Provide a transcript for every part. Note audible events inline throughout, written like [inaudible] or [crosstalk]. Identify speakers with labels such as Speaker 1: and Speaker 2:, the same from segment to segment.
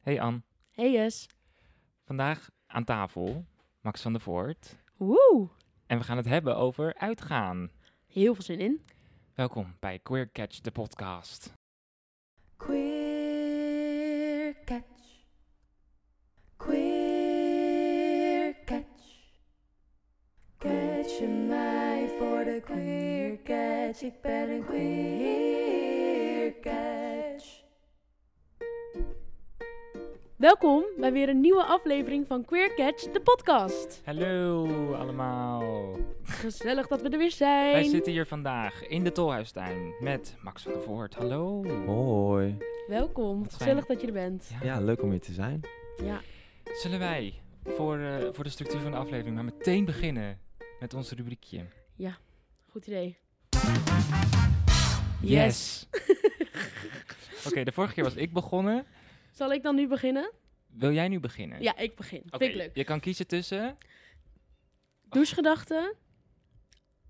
Speaker 1: Hey Ann,
Speaker 2: Hey Jess.
Speaker 1: vandaag aan tafel Max van der Voort.
Speaker 2: Woe.
Speaker 1: En we gaan het hebben over uitgaan.
Speaker 2: Heel veel zin in.
Speaker 1: Welkom bij Queer Catch, de podcast.
Speaker 3: Queer catch. Queer catch. Catch je mij voor de queer catch. Ik ben een queer catch.
Speaker 2: Welkom bij weer een nieuwe aflevering van Queer Catch, de podcast.
Speaker 1: Hallo allemaal.
Speaker 2: Gezellig dat we er weer zijn.
Speaker 1: Wij zitten hier vandaag in de Tolhuistuin met Max van der Voort. Hallo.
Speaker 4: Hoi.
Speaker 2: Welkom.
Speaker 1: Wat
Speaker 2: Gezellig
Speaker 1: fijn.
Speaker 2: dat je er bent.
Speaker 4: Ja, leuk om hier te zijn.
Speaker 2: Ja.
Speaker 1: Zullen wij voor, eh, voor de structuur van de aflevering maar meteen beginnen met ons rubriekje?
Speaker 2: Goed idee.
Speaker 1: [laughs] Oké, de vorige keer was ik begonnen.
Speaker 2: Zal ik dan nu beginnen?
Speaker 1: Wil jij nu beginnen?
Speaker 2: Ja, ik begin.
Speaker 1: Oké,
Speaker 2: Vind ik leuk.
Speaker 1: je kan kiezen tussen...
Speaker 2: Douchegedachten,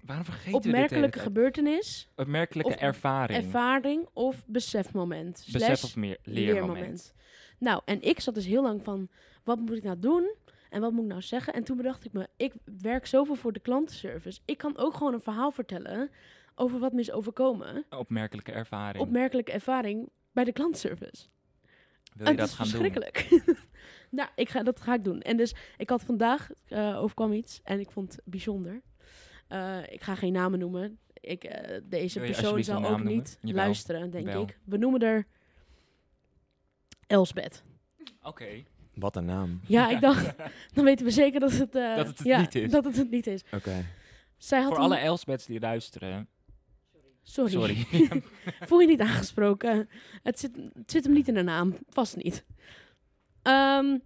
Speaker 1: Waarom vergeten we dit de hele
Speaker 2: opmerkelijke
Speaker 1: tijd?
Speaker 2: gebeurtenis,
Speaker 1: opmerkelijke
Speaker 2: Of
Speaker 1: ervaring.
Speaker 2: ervaring of besefmoment.
Speaker 1: Besef
Speaker 2: Slash
Speaker 1: of meer leermoment.
Speaker 2: Nou, en ik zat dus heel lang van, wat moet ik nou doen? En wat moet ik nou zeggen? En toen bedacht ik me, ik werk zoveel voor de klantenservice. Ik kan ook gewoon een verhaal vertellen over wat me is overkomen.
Speaker 1: Opmerkelijke ervaring.
Speaker 2: Opmerkelijke ervaring bij de klantenservice.
Speaker 1: Wil je
Speaker 2: En
Speaker 1: dat
Speaker 2: het Ah,
Speaker 1: gaan
Speaker 2: is
Speaker 1: doen?
Speaker 2: verschrikkelijk. [laughs] nou, ik ga, dat ga ik doen. En dus, ik had vandaag, eh, overkwam iets en ik vond het bijzonder. Eh, ik ga geen namen noemen. Ik, eh, deze
Speaker 1: Wil je
Speaker 2: persoon
Speaker 1: alsjeblieft
Speaker 2: zal ook
Speaker 1: een naam noemen?
Speaker 2: niet
Speaker 1: Jawel.
Speaker 2: luisteren, denk
Speaker 1: Wel.
Speaker 2: ik. We noemen er Elsbeth.
Speaker 1: Oké.
Speaker 4: Wat een naam.
Speaker 2: Ja, ik dacht, [laughs]
Speaker 1: [laughs]
Speaker 2: dan weten we zeker dat het, eh,
Speaker 1: Dat het het
Speaker 2: ja,
Speaker 1: niet is.
Speaker 2: Dat het het niet is.
Speaker 4: Oké.
Speaker 2: Zij had
Speaker 1: Voor
Speaker 2: een-
Speaker 1: alle Elsbets die luisteren.
Speaker 2: Sorry.
Speaker 1: Sorry.
Speaker 2: [laughs] Voel je niet aangesproken? Het zit, het zit hem niet in de naam. Vast niet. Ehm,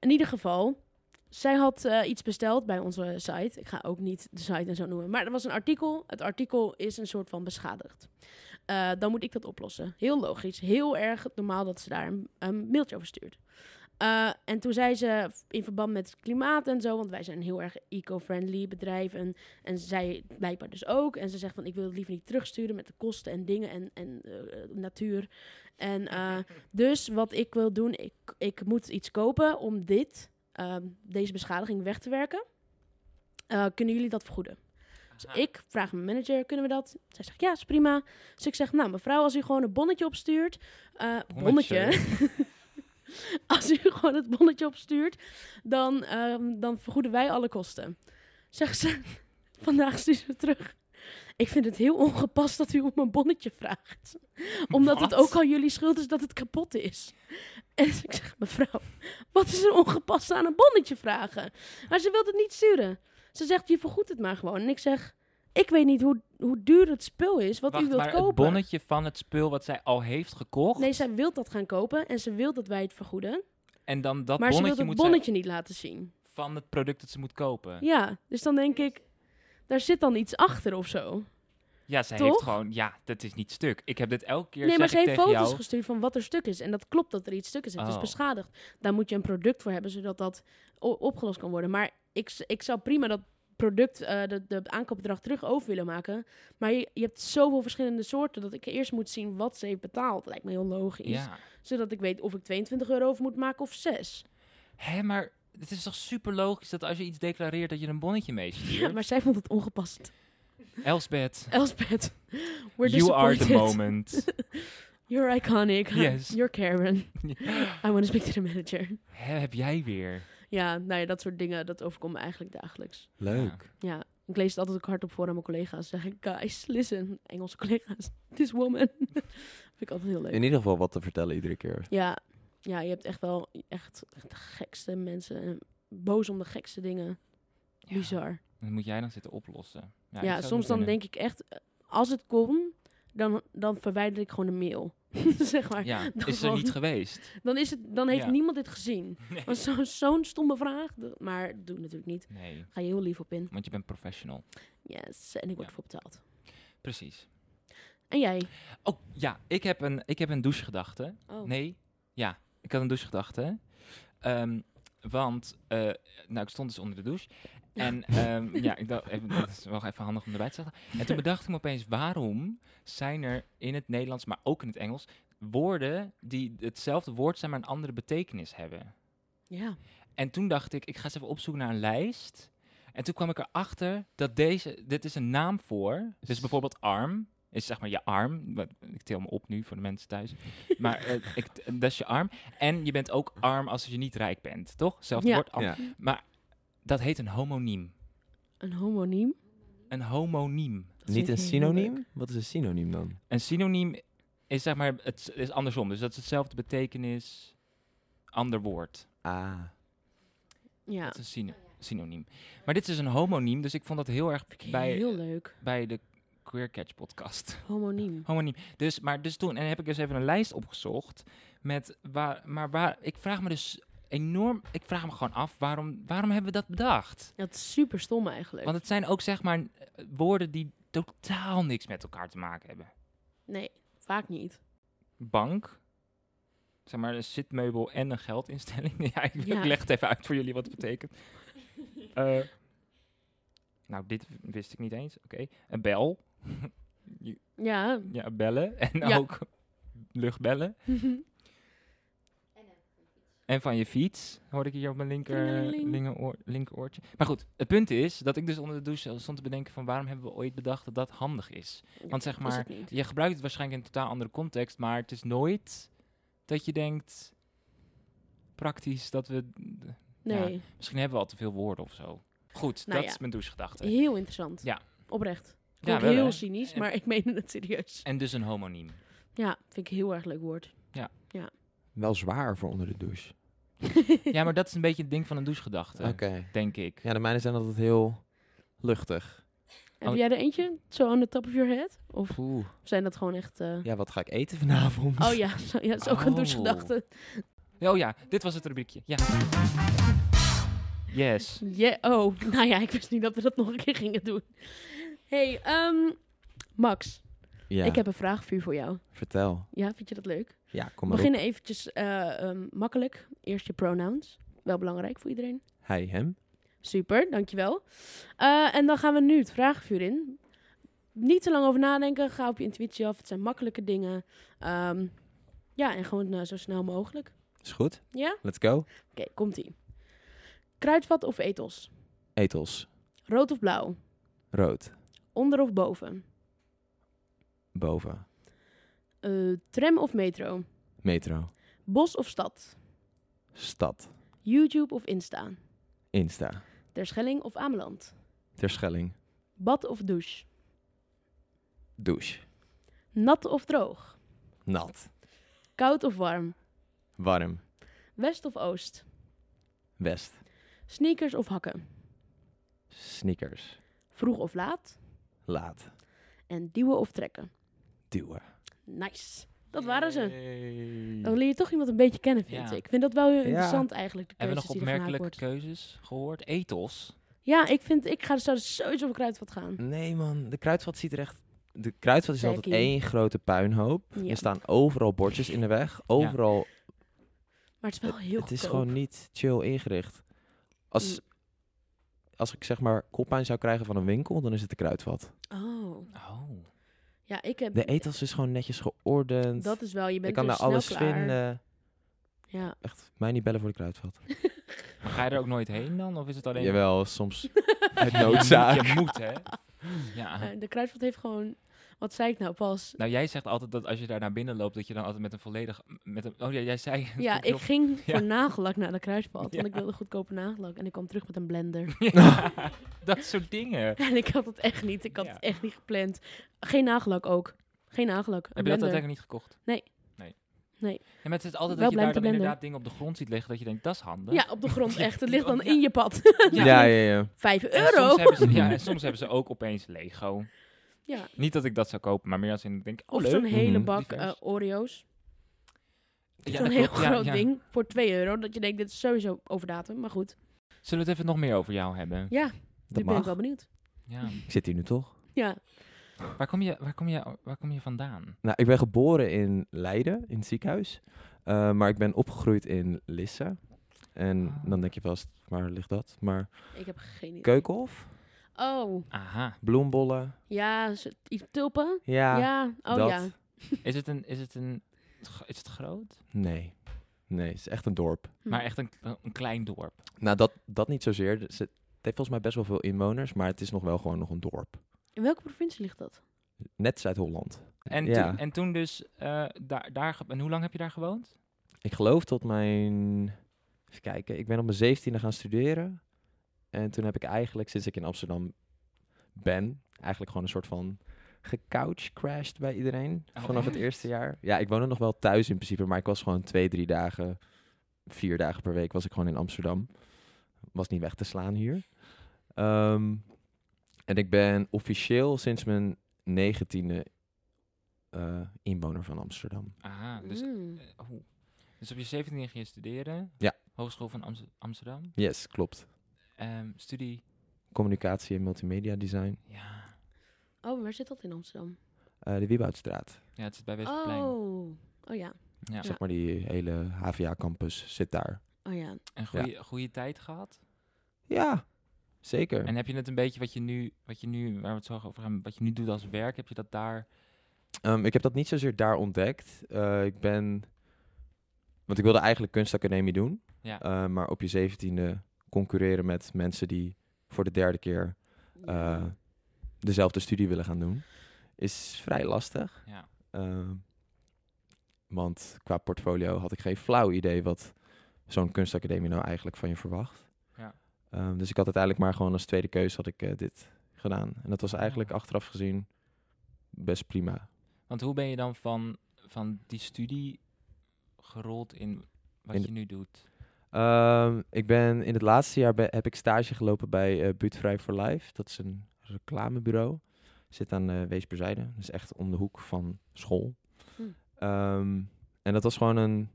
Speaker 2: in ieder geval, zij had eh, iets besteld bij onze site. Ik ga ook niet de site en zo noemen. Maar er was een artikel. Het artikel is een soort van beschadigd. Eh, dan moet ik dat oplossen. Heel logisch. Heel erg normaal dat ze daar een, een mailtje over stuurt. Eh, en toen zei ze in verband met het klimaat en zo, want wij zijn een heel erg eco-friendly bedrijf en en zij blijkbaar dus ook. En ze zegt van, ik wil het liever niet terugsturen met de kosten en dingen en, en eh, eh, natuur. En eh, dus wat ik wil doen, ik, ik moet iets kopen om dit, ehm, deze beschadiging weg te werken. Eh, kunnen jullie dat vergoeden? Dus ik vraag mijn manager, kunnen we dat? Zij zegt, ja, is prima. Dus ik zeg, nou mevrouw, als u gewoon een bonnetje opstuurt... eh,
Speaker 1: Bonnetje.
Speaker 2: als u gewoon het bonnetje opstuurt, dan, ehm, dan vergoeden wij alle kosten. Zegt ze, [laughs] vandaag stuurt ze terug. Ik vind het heel ongepast dat u om een bonnetje vraagt. Omdat het
Speaker 1: Wat?
Speaker 2: ook al jullie schuld is dat het kapot is. En ik zeg, mevrouw, wat is er ongepast aan een bonnetje vragen? Maar ze wil het niet sturen. Ze zegt, je vergoedt het maar gewoon. En ik zeg, ik weet niet hoe, hoe duur het spul is wat
Speaker 1: Wacht,
Speaker 2: u wilt
Speaker 1: maar
Speaker 2: kopen.
Speaker 1: het bonnetje van het spul wat zij al heeft gekocht.
Speaker 2: Nee, zij wil dat gaan kopen en ze wil dat wij het vergoeden.
Speaker 1: en dan dat
Speaker 2: maar ze wil
Speaker 1: bonnetje moet
Speaker 2: het bonnetje niet laten zien.
Speaker 1: zij van het product dat ze moet kopen. Ja,
Speaker 2: Ja, dus dan denk ik, daar zit dan iets achter of zo.
Speaker 1: zij
Speaker 2: Toch?
Speaker 1: heeft gewoon... Ja, dat is niet stuk. Ik heb dit elke keer
Speaker 2: nee, maar ze
Speaker 1: zeg ik
Speaker 2: heeft
Speaker 1: tegen
Speaker 2: foto's
Speaker 1: jou...
Speaker 2: gestuurd van wat er stuk is. En dat klopt dat er iets stuk is. Het is
Speaker 1: Oh.
Speaker 2: beschadigd. Daar moet je een product voor hebben, zodat dat o- opgelost kan worden. Maar ik, s- ik zou prima dat product, eh, de, de aankoopbedrag terug over willen maken. Maar je, je hebt zoveel verschillende soorten dat ik eerst moet zien wat ze heeft betaald. Lijkt me heel logisch.
Speaker 1: Ja.
Speaker 2: Zodat ik weet of ik 22 euro over moet maken of 6.
Speaker 1: Hé, maar het is toch super logisch dat als je iets declareert dat je een bonnetje
Speaker 2: Ja,
Speaker 1: meestuurt?
Speaker 2: [laughs] maar zij vond het ongepast. [laughs]
Speaker 1: Elsbeth,
Speaker 2: Elspeth, we're
Speaker 1: you are the
Speaker 2: disappointed. [laughs]
Speaker 1: moment.
Speaker 2: You're iconic.
Speaker 1: Yes.
Speaker 2: You're
Speaker 1: [laughs]
Speaker 2: Karen. I want to speak to the manager.
Speaker 1: Hè, heb jij weer.
Speaker 2: Ja, nou ja, dat soort dingen, dat overkomt me eigenlijk dagelijks.
Speaker 4: Leuk.
Speaker 2: Ja, ik lees het altijd ook hardop voor aan mijn collega's. Zeg ik, guys, listen, Engelse collega's, [laughs] this woman. Vind ik altijd heel leuk.
Speaker 4: In ieder geval wat te vertellen iedere keer.
Speaker 2: Ja, ja, je hebt echt wel echt de gekste mensen. Boos om de gekste dingen.
Speaker 1: Ja.
Speaker 2: Bizar.
Speaker 1: Dat moet jij dan zitten oplossen.
Speaker 2: Ja,
Speaker 1: ik zou dus het
Speaker 2: soms
Speaker 1: niet
Speaker 2: dan
Speaker 1: kunnen.
Speaker 2: denk ik echt, eh, als het kon, dan, dan verwijder ik gewoon een mail. [laughs] zeg maar. [laughs]
Speaker 1: Ja,
Speaker 2: dan
Speaker 1: is er
Speaker 2: gewoon-
Speaker 1: niet geweest.
Speaker 2: [laughs] Dan, is het, dan heeft
Speaker 1: Ja.
Speaker 2: niemand dit
Speaker 1: [laughs]
Speaker 2: gezien.
Speaker 1: Nee.
Speaker 2: Dat is zo- zo'n stomme vraag. De- Maar doe natuurlijk niet.
Speaker 1: Nee,
Speaker 2: Ga je heel lief op in.
Speaker 1: want je bent professional.
Speaker 2: Yes, en ik word
Speaker 1: Ja.
Speaker 2: ervoor betaald.
Speaker 1: Precies.
Speaker 2: En jij?
Speaker 1: Oh, ja, ik heb een, ik heb een douchegedachte.
Speaker 2: Oh.
Speaker 1: Nee, ja, ik had een douchegedachte. Ehm, want, eh, nou, ik stond dus onder de douche.
Speaker 2: [laughs]
Speaker 1: En ehm, ja, ik dacht, even, dat is wel even handig om erbij te zeggen. En toen bedacht ik me opeens, waarom zijn er in het Nederlands, maar ook in het Engels, woorden die hetzelfde woord zijn, maar een andere betekenis hebben.
Speaker 2: Ja.
Speaker 1: En toen dacht ik, ik ga eens even opzoeken naar een lijst. En toen kwam ik erachter dat deze, dit is een naam voor. Dus bijvoorbeeld arm, is zeg maar je arm. Wat- Ik tel me op nu voor de mensen thuis. Maar eh, ik, dat is je arm. En je bent ook arm als je niet rijk bent, toch? Zelfde
Speaker 2: Ja.
Speaker 1: woord. arm.
Speaker 4: Ja.
Speaker 1: Maar dat heet een homoniem.
Speaker 2: Een homoniem.
Speaker 1: Een homoniem.
Speaker 2: Dat vind
Speaker 4: Niet een
Speaker 2: ik heel leuk.
Speaker 4: synoniem? Wat is een synoniem dan?
Speaker 1: Een synoniem is zeg maar, het is andersom. Dus dat is hetzelfde betekenis, ander woord.
Speaker 4: Ah.
Speaker 2: Ja.
Speaker 1: Dat is een syno- synoniem. Maar dit is een homoniem, dus ik vond dat heel erg bij, eh,
Speaker 2: Heel leuk.
Speaker 1: bij de Queer Catch [laughs] podcast.
Speaker 2: Homoniem.
Speaker 1: Homoniem. Dus, maar dus toen en heb ik dus even een lijst opgezocht met waar, maar waar, ik vraag me dus enorm, ik vraag me gewoon af, waarom, waarom hebben we dat bedacht?
Speaker 2: Dat is super stom eigenlijk.
Speaker 1: Want het zijn ook zeg maar eh, woorden die totaal niks met elkaar te maken hebben.
Speaker 2: Nee, vaak niet.
Speaker 1: bank, zeg maar een zitmeubel en een geldinstelling. [laughs] ja, ik, ik
Speaker 2: Ja.
Speaker 1: leg het even uit voor jullie wat het betekent. Eh, nou, dit w- wist ik niet eens. Oké, een bel,
Speaker 2: Ja.
Speaker 1: ja, bellen [laughs] en
Speaker 2: Ja. Mhm.
Speaker 1: ook luchtbellen. En van je fiets, hoor ik hier op mijn linker,
Speaker 2: Klingelingeling.
Speaker 1: lingeroor- linkeroortje. Maar goed, het punt is dat ik dus onder de douche stond te bedenken van waarom hebben we ooit bedacht dat dat handig is. Want zeg
Speaker 2: Is
Speaker 1: maar,
Speaker 2: het niet.
Speaker 1: je gebruikt het waarschijnlijk in een totaal andere context, maar het is nooit dat je denkt praktisch dat we.
Speaker 2: Nee.
Speaker 1: Misschien hebben we al te veel woorden of zo. Goed,
Speaker 2: Nou
Speaker 1: dat
Speaker 2: ja.
Speaker 1: is mijn douchegedachte.
Speaker 2: Heel interessant.
Speaker 1: Ja.
Speaker 2: Oprecht.
Speaker 1: Ja,
Speaker 2: Ja,
Speaker 1: wel,
Speaker 2: heel
Speaker 1: hè?
Speaker 2: cynisch,
Speaker 1: En-
Speaker 2: maar ik meen het serieus.
Speaker 1: En dus een
Speaker 2: [laughs]
Speaker 1: homoniem.
Speaker 2: Ja, vind ik een heel erg leuk
Speaker 1: [laughs]
Speaker 2: woord.
Speaker 4: Wel zwaar voor onder de douche.
Speaker 1: Ja, maar dat is een beetje het ding van een douchegedachte, denk ik.
Speaker 4: Ja, de mijne zijn altijd heel luchtig.
Speaker 2: Heb jij er eentje? Zo aan de top of your head? Of
Speaker 4: Poeh.
Speaker 2: zijn dat gewoon echt... eh,
Speaker 4: Ja, wat ga ik eten vanavond?
Speaker 2: [laughs] Oh ja, zo- ja, dat is ook een
Speaker 1: Oh.
Speaker 2: douchegedachte.
Speaker 1: Oh ja, dit was het rubriekje. Ja. Yes.
Speaker 2: Ja, oh, [laughs] nou ja, ik wist niet dat we dat nog een keer gingen doen. hey, ehm, Max,
Speaker 4: Ja,
Speaker 2: ik heb een vraag voor, voor jou.
Speaker 4: vertel.
Speaker 2: Ja, vind je dat leuk?
Speaker 4: Ja, kom
Speaker 2: We
Speaker 4: maar
Speaker 2: beginnen eventjes eh, ehm, makkelijk. Eerst je pronouns. Wel belangrijk voor iedereen.
Speaker 4: op. Hij, hem.
Speaker 2: Super, dankjewel. Eh, en dan gaan we nu het vragenvuur in. Niet te lang over nadenken. Ga op je intuïtie af. Het zijn makkelijke dingen. Ehm, ja, en gewoon eh, zo snel mogelijk.
Speaker 4: Is goed.
Speaker 2: Ja?
Speaker 4: Let's go.
Speaker 2: Oké, komt-ie. Kruidvat of etels?
Speaker 4: Etels.
Speaker 2: Rood of blauw?
Speaker 4: Rood.
Speaker 2: Onder of boven?
Speaker 4: Boven.
Speaker 2: Eh, tram of metro?
Speaker 4: Metro.
Speaker 2: Bos of stad?
Speaker 4: Stad.
Speaker 2: YouTube of Insta?
Speaker 4: Insta.
Speaker 2: Terschelling of Ameland?
Speaker 4: Terschelling.
Speaker 2: Bad of douche?
Speaker 4: Douche.
Speaker 2: Nat of droog?
Speaker 4: Nat.
Speaker 2: Koud of warm?
Speaker 4: Warm.
Speaker 2: West of oost?
Speaker 4: West.
Speaker 2: Sneakers of hakken?
Speaker 4: Sneakers.
Speaker 2: Vroeg of laat?
Speaker 4: Laat.
Speaker 2: En duwen of trekken?
Speaker 4: Duwen.
Speaker 2: Nice. Dat waren ze. Oh,
Speaker 1: Yay.
Speaker 2: Dan leer je toch iemand een beetje kennen, vind
Speaker 1: Ja.
Speaker 2: ik. Ik vind dat wel heel interessant eigenlijk, de
Speaker 1: Hebben
Speaker 2: keuzes
Speaker 1: we nog
Speaker 2: die er gemaakt
Speaker 1: opmerkelijke
Speaker 2: wordt.
Speaker 1: keuzes gehoord? Ethos.
Speaker 2: Ja, ik vind, ik ga zou sowieso op kruidvat gaan.
Speaker 4: Nee man, de kruidvat ziet er echt... De kruidvat is altijd
Speaker 2: Tacky.
Speaker 4: één grote puinhoop.
Speaker 2: Ja.
Speaker 4: Er staan overal bordjes in de weg. Overal.
Speaker 2: Maar het is wel heel
Speaker 4: het is
Speaker 2: goedkoop.
Speaker 4: gewoon niet chill ingericht. Als,
Speaker 2: Mm.
Speaker 4: als ik zeg maar koppijn zou krijgen van een winkel, dan is het de kruidvat.
Speaker 2: Oh.
Speaker 1: Oh.
Speaker 2: Ja, ik heb...
Speaker 4: De etels is gewoon netjes geordend.
Speaker 2: Dat is wel, je bent
Speaker 4: ik kan
Speaker 2: dus
Speaker 4: daar alles
Speaker 2: snel
Speaker 1: [laughs]
Speaker 2: klaar.
Speaker 4: vinden.
Speaker 2: Ja.
Speaker 4: Echt, mij niet bellen voor de kruidvat.
Speaker 1: Maar ga je er ook nooit heen dan? Of is het [laughs] alleen...
Speaker 2: [laughs]
Speaker 4: Jawel, soms uit
Speaker 1: Je moet,
Speaker 4: noodzaak.
Speaker 1: je moet, hè? Ja.
Speaker 2: Eh, de kruidvat heeft gewoon... Wat zei ik nou pas?
Speaker 1: Nou, jij zegt altijd dat als je daar naar binnen loopt, dat je dan altijd met een volledig... Met een, oh ja, jij zei... dat
Speaker 2: Ja,
Speaker 1: vond heel
Speaker 2: ik ging voor
Speaker 1: Ja.
Speaker 2: nagellak naar de kruidvat.
Speaker 1: Ja.
Speaker 2: Want ik wilde goedkope nagellak. En ik kwam terug met een blender. [laughs]
Speaker 1: Ja,
Speaker 4: [laughs]
Speaker 1: [laughs] dat soort dingen.
Speaker 2: en ik had het echt niet. Ik had
Speaker 1: Ja.
Speaker 2: het echt niet gepland. Geen nagellak ook. Geen nagellak. Een
Speaker 1: Heb je dat
Speaker 2: blender.
Speaker 1: uiteindelijk niet gekocht?
Speaker 2: Nee.
Speaker 1: Nee.
Speaker 2: Nee.
Speaker 1: Ja, maar het is altijd
Speaker 2: Wel
Speaker 1: dat je daar
Speaker 2: blij
Speaker 1: dan
Speaker 2: met de blender.
Speaker 1: inderdaad dingen op de grond ziet liggen dat je denkt, dat is handig.
Speaker 2: Ja, op de grond echt. Het ligt dan
Speaker 1: [laughs] Ja.
Speaker 2: in je pad. [laughs]
Speaker 4: Ja, ja, ja.
Speaker 2: Vijf
Speaker 1: En
Speaker 2: euro.
Speaker 1: Soms hebben ze,
Speaker 4: [laughs]
Speaker 1: ja, en soms hebben ze ook opeens Lego.
Speaker 2: Ja.
Speaker 1: Niet dat ik dat zou kopen, maar meer als in, ik denk, oh
Speaker 2: Of
Speaker 1: leuk.
Speaker 2: zo'n hele
Speaker 4: Mhm.
Speaker 2: bak
Speaker 1: Divers.
Speaker 2: eh, Oreo's.
Speaker 1: Ja,
Speaker 2: zo'n
Speaker 1: dat
Speaker 2: heel
Speaker 1: klopt. Ja,
Speaker 2: groot
Speaker 1: ja.
Speaker 2: ding voor 2 euro. Dat je denkt, dit is sowieso overdatum. Maar goed,
Speaker 1: Zullen we het even nog meer over jou hebben?
Speaker 2: ja,
Speaker 4: Dat
Speaker 2: nu ben ik
Speaker 4: mag.
Speaker 2: wel benieuwd.
Speaker 1: Ja.
Speaker 4: Ik zit hier nu toch?
Speaker 2: Ja,
Speaker 1: Waar, kom je, waar, kom je, waar kom je vandaan?
Speaker 4: Nou, ik ben geboren in Leiden, in het ziekenhuis. Eh, maar ik ben opgegroeid in Lisse. En
Speaker 1: Ah.
Speaker 4: dan denk je vast, waar ligt dat? Maar
Speaker 2: ik heb geen idee.
Speaker 4: Keukenhof,
Speaker 2: Oh,
Speaker 1: Aha.
Speaker 4: bloembollen.
Speaker 2: ja, z- iets tulpen.
Speaker 4: Ja,
Speaker 2: Ja, oh
Speaker 4: dat.
Speaker 2: ja.
Speaker 1: Is het een, is het een het gro- is het groot?
Speaker 4: Nee. Nee, het is echt een dorp.
Speaker 2: Hm.
Speaker 1: Maar echt een, een klein dorp.
Speaker 4: Nou, dat, dat niet zozeer. Dus Het het heeft volgens mij best wel veel inwoners, maar het is nog wel gewoon nog een dorp.
Speaker 2: In welke provincie ligt dat?
Speaker 4: Net Zuid-Holland.
Speaker 1: En,
Speaker 4: Ja.
Speaker 1: toen, en toen dus, eh, daar, daar, ge- en hoe lang heb je daar gewoond?
Speaker 4: Ik geloof tot mijn... Even kijken, ik ben op mijn zeventiende gaan studeren. En toen heb ik eigenlijk, sinds ik in Amsterdam ben, eigenlijk gewoon een soort van gecouchcrashed bij iedereen.
Speaker 1: Oh,
Speaker 4: vanaf het
Speaker 1: echt?
Speaker 4: eerste jaar. Ja, ik woonde nog wel thuis in principe, maar ik was gewoon twee, drie dagen, vier dagen per week was ik gewoon in Amsterdam. Was niet weg te slaan hier. Ehm, en ik ben officieel sinds mijn negentiende eh, inwoner van Amsterdam.
Speaker 1: Ah, dus,
Speaker 2: Mm.
Speaker 1: eh, oeh. dus op je 17 ging je studeren.
Speaker 4: Ja.
Speaker 1: Hogeschool van Amst- Amsterdam.
Speaker 4: Yes, klopt.
Speaker 1: Ehm, studie,
Speaker 4: Communicatie en multimedia design.
Speaker 1: ja.
Speaker 2: Oh, waar zit dat in Amsterdam?
Speaker 4: Eh, de Wieboudstraat.
Speaker 1: ja, het zit bij Westplein.
Speaker 2: Oh. Oh ja.
Speaker 1: Ja.
Speaker 4: Zeg maar die hele HVA-campus zit daar.
Speaker 2: Oh ja.
Speaker 1: En goede goede tijd gehad?
Speaker 4: Ja, zeker.
Speaker 1: En heb je het een beetje wat je nu, wat je nu, waar we het zo over gaan, wat je nu doet als werk, heb je dat daar?
Speaker 4: Ehm, ik heb dat niet zozeer daar ontdekt. Eh, ik ben... Want ik wilde eigenlijk kunstacademie doen.
Speaker 1: Ja.
Speaker 4: Eh, maar op je zeventiende concurreren met mensen die voor de derde keer eh, dezelfde studie willen gaan doen. Is vrij lastig.
Speaker 1: Ja.
Speaker 4: Ehm, want qua portfolio had ik geen flauw idee wat zo'n kunstacademie nou eigenlijk van je verwacht.
Speaker 1: Ja.
Speaker 4: Ehm, dus ik had uiteindelijk maar gewoon als tweede keus had ik eh, dit gedaan. En dat was eigenlijk achteraf gezien best prima.
Speaker 1: Want hoe ben je dan van, van die studie gerold in wat
Speaker 4: In
Speaker 1: je
Speaker 4: de-
Speaker 1: nu doet?
Speaker 4: Ehm, ik ben in het laatste jaar be- heb ik stage gelopen bij eh Buurtvrij for Life. Dat is een reclamebureau. Zit aan eh Weesperzijde. Dat is echt om de hoek van school.
Speaker 2: Hm.
Speaker 4: Ehm, en dat was gewoon een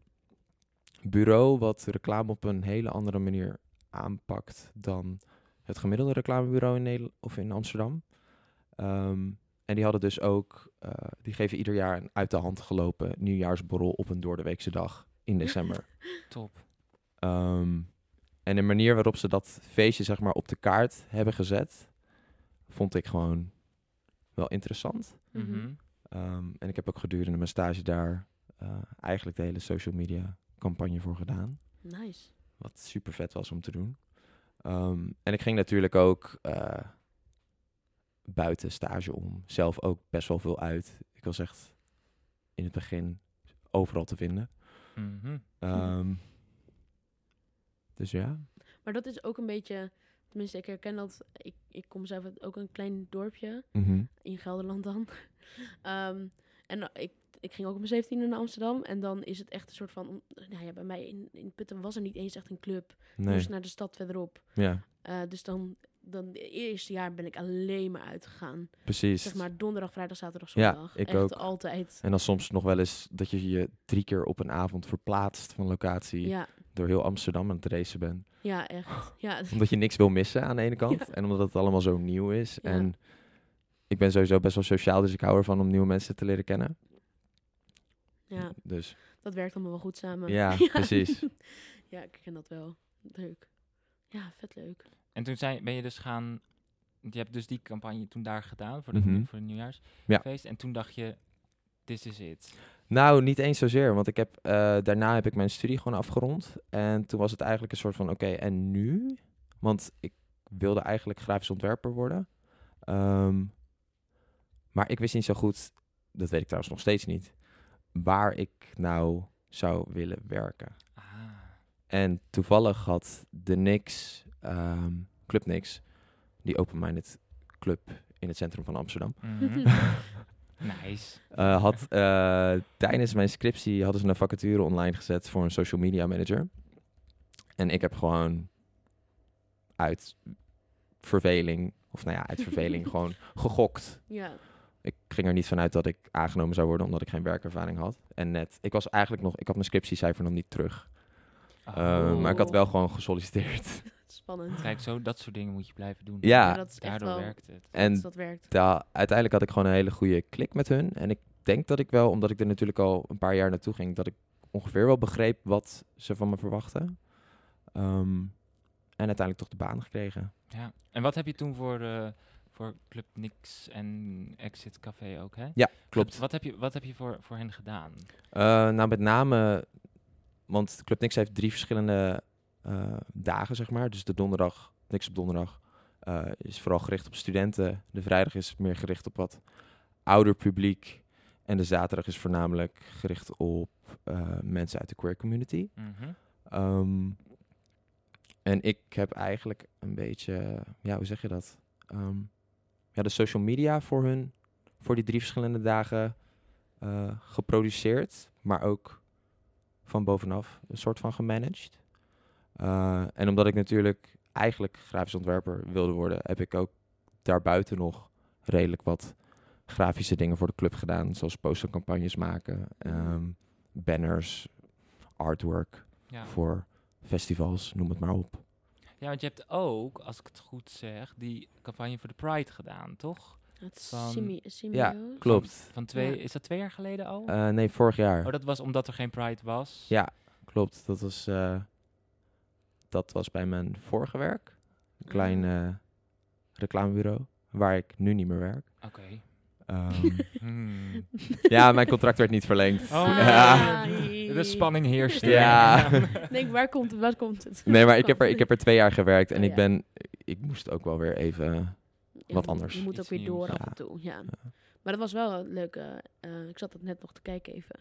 Speaker 4: bureau wat reclame op een hele andere manier aanpakt dan het gemiddelde reclamebureau in Nederland of in Amsterdam. Ehm, en die hadden dus ook, eh, die geven ieder jaar een uit de hand gelopen nieuwjaarsborrel op een doordeweekse dag in december.
Speaker 1: Top.
Speaker 4: Ehm, en de manier waarop ze dat feestje zeg maar, op de kaart hebben gezet, vond ik gewoon wel interessant.
Speaker 2: Mhm.
Speaker 1: Mhm.
Speaker 4: Ehm, en ik heb ook gedurende mijn stage daar eh, eigenlijk de hele social media campagne voor gedaan.
Speaker 2: [laughs] Nice.
Speaker 4: Wat super vet was om te doen. Ehm, en ik ging natuurlijk ook eh, buiten stage om. Zelf ook best wel veel uit. Ik was echt in het begin overal te vinden.
Speaker 1: Mhm.
Speaker 4: Ehm, dus ja.
Speaker 2: Maar dat is ook een beetje... Tenminste, ik herken dat... Ik, ik kom zelf uit ook een klein dorpje.
Speaker 4: Mhm.
Speaker 2: in Gelderland dan. [laughs] Ehm, en dan- ik, ik ging ook op mijn 17e naar Amsterdam. En dan is het echt een soort van... Nou ja, bij mij in, in Putten was er niet eens echt een club. Ik
Speaker 4: Nee.
Speaker 2: Moest naar de stad verderop.
Speaker 4: Ja,
Speaker 2: Eh, dus dan, dan... Het eerste jaar ben ik alleen maar uitgegaan.
Speaker 4: precies.
Speaker 2: Zeg maar donderdag, vrijdag, zaterdag,
Speaker 4: Ja,
Speaker 2: zondag.
Speaker 4: ik
Speaker 2: echt
Speaker 4: ook.
Speaker 2: altijd.
Speaker 4: En dan soms nog wel eens dat je je drie keer op een avond verplaatst van locatie
Speaker 2: Ja,
Speaker 4: door heel Amsterdam aan het racen bent.
Speaker 2: ja, echt. Ja, [laughs]
Speaker 4: Omdat je niks wil missen aan de ene kant en omdat het allemaal zo nieuw is.
Speaker 2: Ja.
Speaker 4: En ik ben sowieso best wel sociaal, dus ik hou ervan om nieuwe mensen te leren kennen.
Speaker 2: ja,
Speaker 4: Dus
Speaker 2: dat werkt allemaal wel goed samen. [laughs]
Speaker 4: ja, precies.
Speaker 2: Ja, ik ken dat wel. Leuk. Ja, vet leuk.
Speaker 1: En toen zijn, ben je dus gaan, je hebt dus die campagne toen daar gedaan voor, de,
Speaker 4: Mhm.
Speaker 1: voor het nieuwjaarsfeest. En toen dacht je, this is it.
Speaker 4: Nou, niet eens zozeer, want ik heb, eh, daarna heb ik mijn studie gewoon afgerond. En toen was het eigenlijk een soort van, oké, en nu? Want ik wilde eigenlijk grafisch ontwerper worden. Ehm, maar ik wist niet zo goed, dat weet ik trouwens nog steeds niet, waar ik nou zou willen werken.
Speaker 1: Ah,
Speaker 4: En toevallig had de Nix, ehm, Club Nix, die open-minded club in het centrum van Amsterdam,
Speaker 1: mhm.
Speaker 2: [laughs]
Speaker 1: nice.
Speaker 4: eh, had eh, tijdens mijn scriptie hadden ze een vacature online gezet voor een social media manager. En ik heb gewoon uit verveling, of nou ja, uit verveling gewoon gegokt.
Speaker 2: Ja,
Speaker 4: Ik ging er niet vanuit dat ik aangenomen zou worden omdat ik geen werkervaring had. En net, ik was eigenlijk nog, ik had mijn scriptiecijfer nog niet terug. Eh,
Speaker 1: Oh.
Speaker 4: maar ik had wel gewoon gesolliciteerd.
Speaker 2: spannend.
Speaker 1: Kijk, zo dat soort dingen moet je blijven doen.
Speaker 4: Ja,
Speaker 2: Maar dat is echt
Speaker 1: Daardoor
Speaker 2: wel...
Speaker 1: werkt het.
Speaker 2: dat,
Speaker 4: en
Speaker 2: dat werkt.
Speaker 4: da- uiteindelijk had ik gewoon een hele goede klik met hun. En ik denk dat ik wel, omdat ik er natuurlijk al een paar jaar naartoe ging, dat ik ongeveer wel begreep wat ze van me verwachten. Ehm, en uiteindelijk toch de baan gekregen.
Speaker 1: Ja. En wat heb je toen voor, eh, voor Club Nix en Exit Café ook, hè?
Speaker 4: Ja, klopt.
Speaker 1: Wat heb je, wat heb je voor, voor hen gedaan?
Speaker 4: Eh, nou, met name, want Club Nix heeft drie verschillende eh, dagen, zeg maar. Dus de donderdag, Nix op donderdag, eh, is vooral gericht op studenten. De vrijdag is meer gericht op wat ouder publiek. En de zaterdag is voornamelijk gericht op eh, mensen uit de queer community.
Speaker 1: Mhm.
Speaker 4: Ehm, en ik heb eigenlijk een beetje, ja, hoe zeg je dat? Ehm, ja, de social media voor hun, voor die drie verschillende dagen eh, geproduceerd, maar ook van bovenaf een soort van gemanaged. Eh, en omdat ik natuurlijk eigenlijk grafisch ontwerper wilde worden, heb ik ook daarbuiten nog redelijk wat grafische dingen voor de club gedaan, zoals postercampagnes maken, ehm, banners, artwork
Speaker 1: Ja.
Speaker 4: voor festivals, noem het maar op.
Speaker 1: ja, want je hebt ook, als ik het goed zeg, die campagne voor de Pride gedaan, toch?
Speaker 2: Het is
Speaker 1: Van-
Speaker 2: symbi- symbiose.
Speaker 4: Ja, klopt.
Speaker 1: Van twee,
Speaker 2: Ja.
Speaker 1: Is dat twee jaar geleden al?
Speaker 4: Eh, nee, vorig jaar.
Speaker 1: oh, dat was omdat er geen Pride was?
Speaker 4: Ja. Klopt, dat was, eh, dat was bij mijn vorige werk. Een
Speaker 2: [laughs]
Speaker 4: klein eh, reclamebureau, waar ik nu niet meer werk.
Speaker 1: Oké.
Speaker 2: [laughs]
Speaker 4: Ehm,
Speaker 1: Hmm.
Speaker 4: ja, mijn contract werd niet verlengd.
Speaker 1: Oh,
Speaker 4: Ja.
Speaker 2: nee.
Speaker 1: De spanning heerst. er.
Speaker 4: Ja.
Speaker 2: [laughs] Denk, waar komt het? Waar komt het?
Speaker 4: Nee, maar ik heb, er, ik heb er twee jaar gewerkt en
Speaker 2: Oh,
Speaker 4: ik
Speaker 2: ja. Oh,
Speaker 4: ben... Ik moest ook wel weer even...
Speaker 2: Ja,
Speaker 4: Wat
Speaker 2: je moet-
Speaker 4: anders.
Speaker 2: Je moet
Speaker 1: Iets
Speaker 2: ook weer door
Speaker 1: nieuws.
Speaker 4: Ja.
Speaker 2: af en toe, ja. Maar dat was wel een leuke... eh, ik zat dat net nog te kijken even.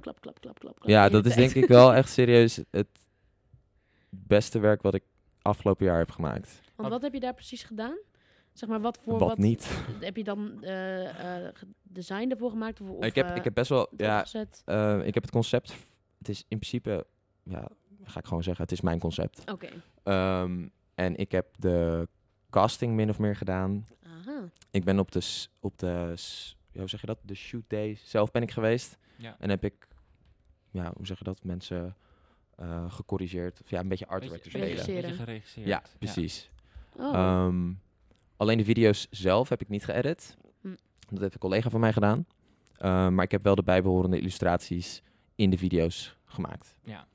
Speaker 2: Klap, klap, klap, klap, klap.
Speaker 4: Ja,
Speaker 2: de hele
Speaker 4: dat is
Speaker 2: tijd.
Speaker 4: denk ik wel echt serieus het beste werk wat ik afgelopen jaar heb gemaakt.
Speaker 2: [laughs] Want wat heb je daar precies gedaan? Zeg maar, wat voor...
Speaker 4: Wat niet.
Speaker 2: Heb je dan eh eh design ervoor gemaakt? Of, of,
Speaker 4: ik, heb,
Speaker 2: eh,
Speaker 4: ik heb best wel...
Speaker 2: het
Speaker 4: Ja,
Speaker 2: opgezet?
Speaker 4: Eh, ik heb het concept. Het is in principe, ja, ga ik gewoon zeggen, het is mijn concept.
Speaker 2: Oké.
Speaker 4: Ehm, en ik heb de casting min of meer gedaan.
Speaker 2: Aha.
Speaker 4: Ik ben op de, s- op de s- ja, hoe zeg je dat? De shoot day zelf ben ik geweest.
Speaker 1: Ja.
Speaker 4: En heb ik, ja, hoe zeg je dat? Mensen eh, gecorrigeerd. Of ja, een beetje artwork te
Speaker 1: Beetje-
Speaker 4: spelen.
Speaker 2: regisseren.
Speaker 1: beetje geregisseerd.
Speaker 4: Ja, precies.
Speaker 2: Oh,
Speaker 4: Ehm, alleen de video's zelf heb ik niet geëdit.
Speaker 2: Hm.
Speaker 4: Dat heeft een collega van mij gedaan. Ehm, maar ik heb wel de bijbehorende illustraties in de video's gemaakt.
Speaker 1: Ja.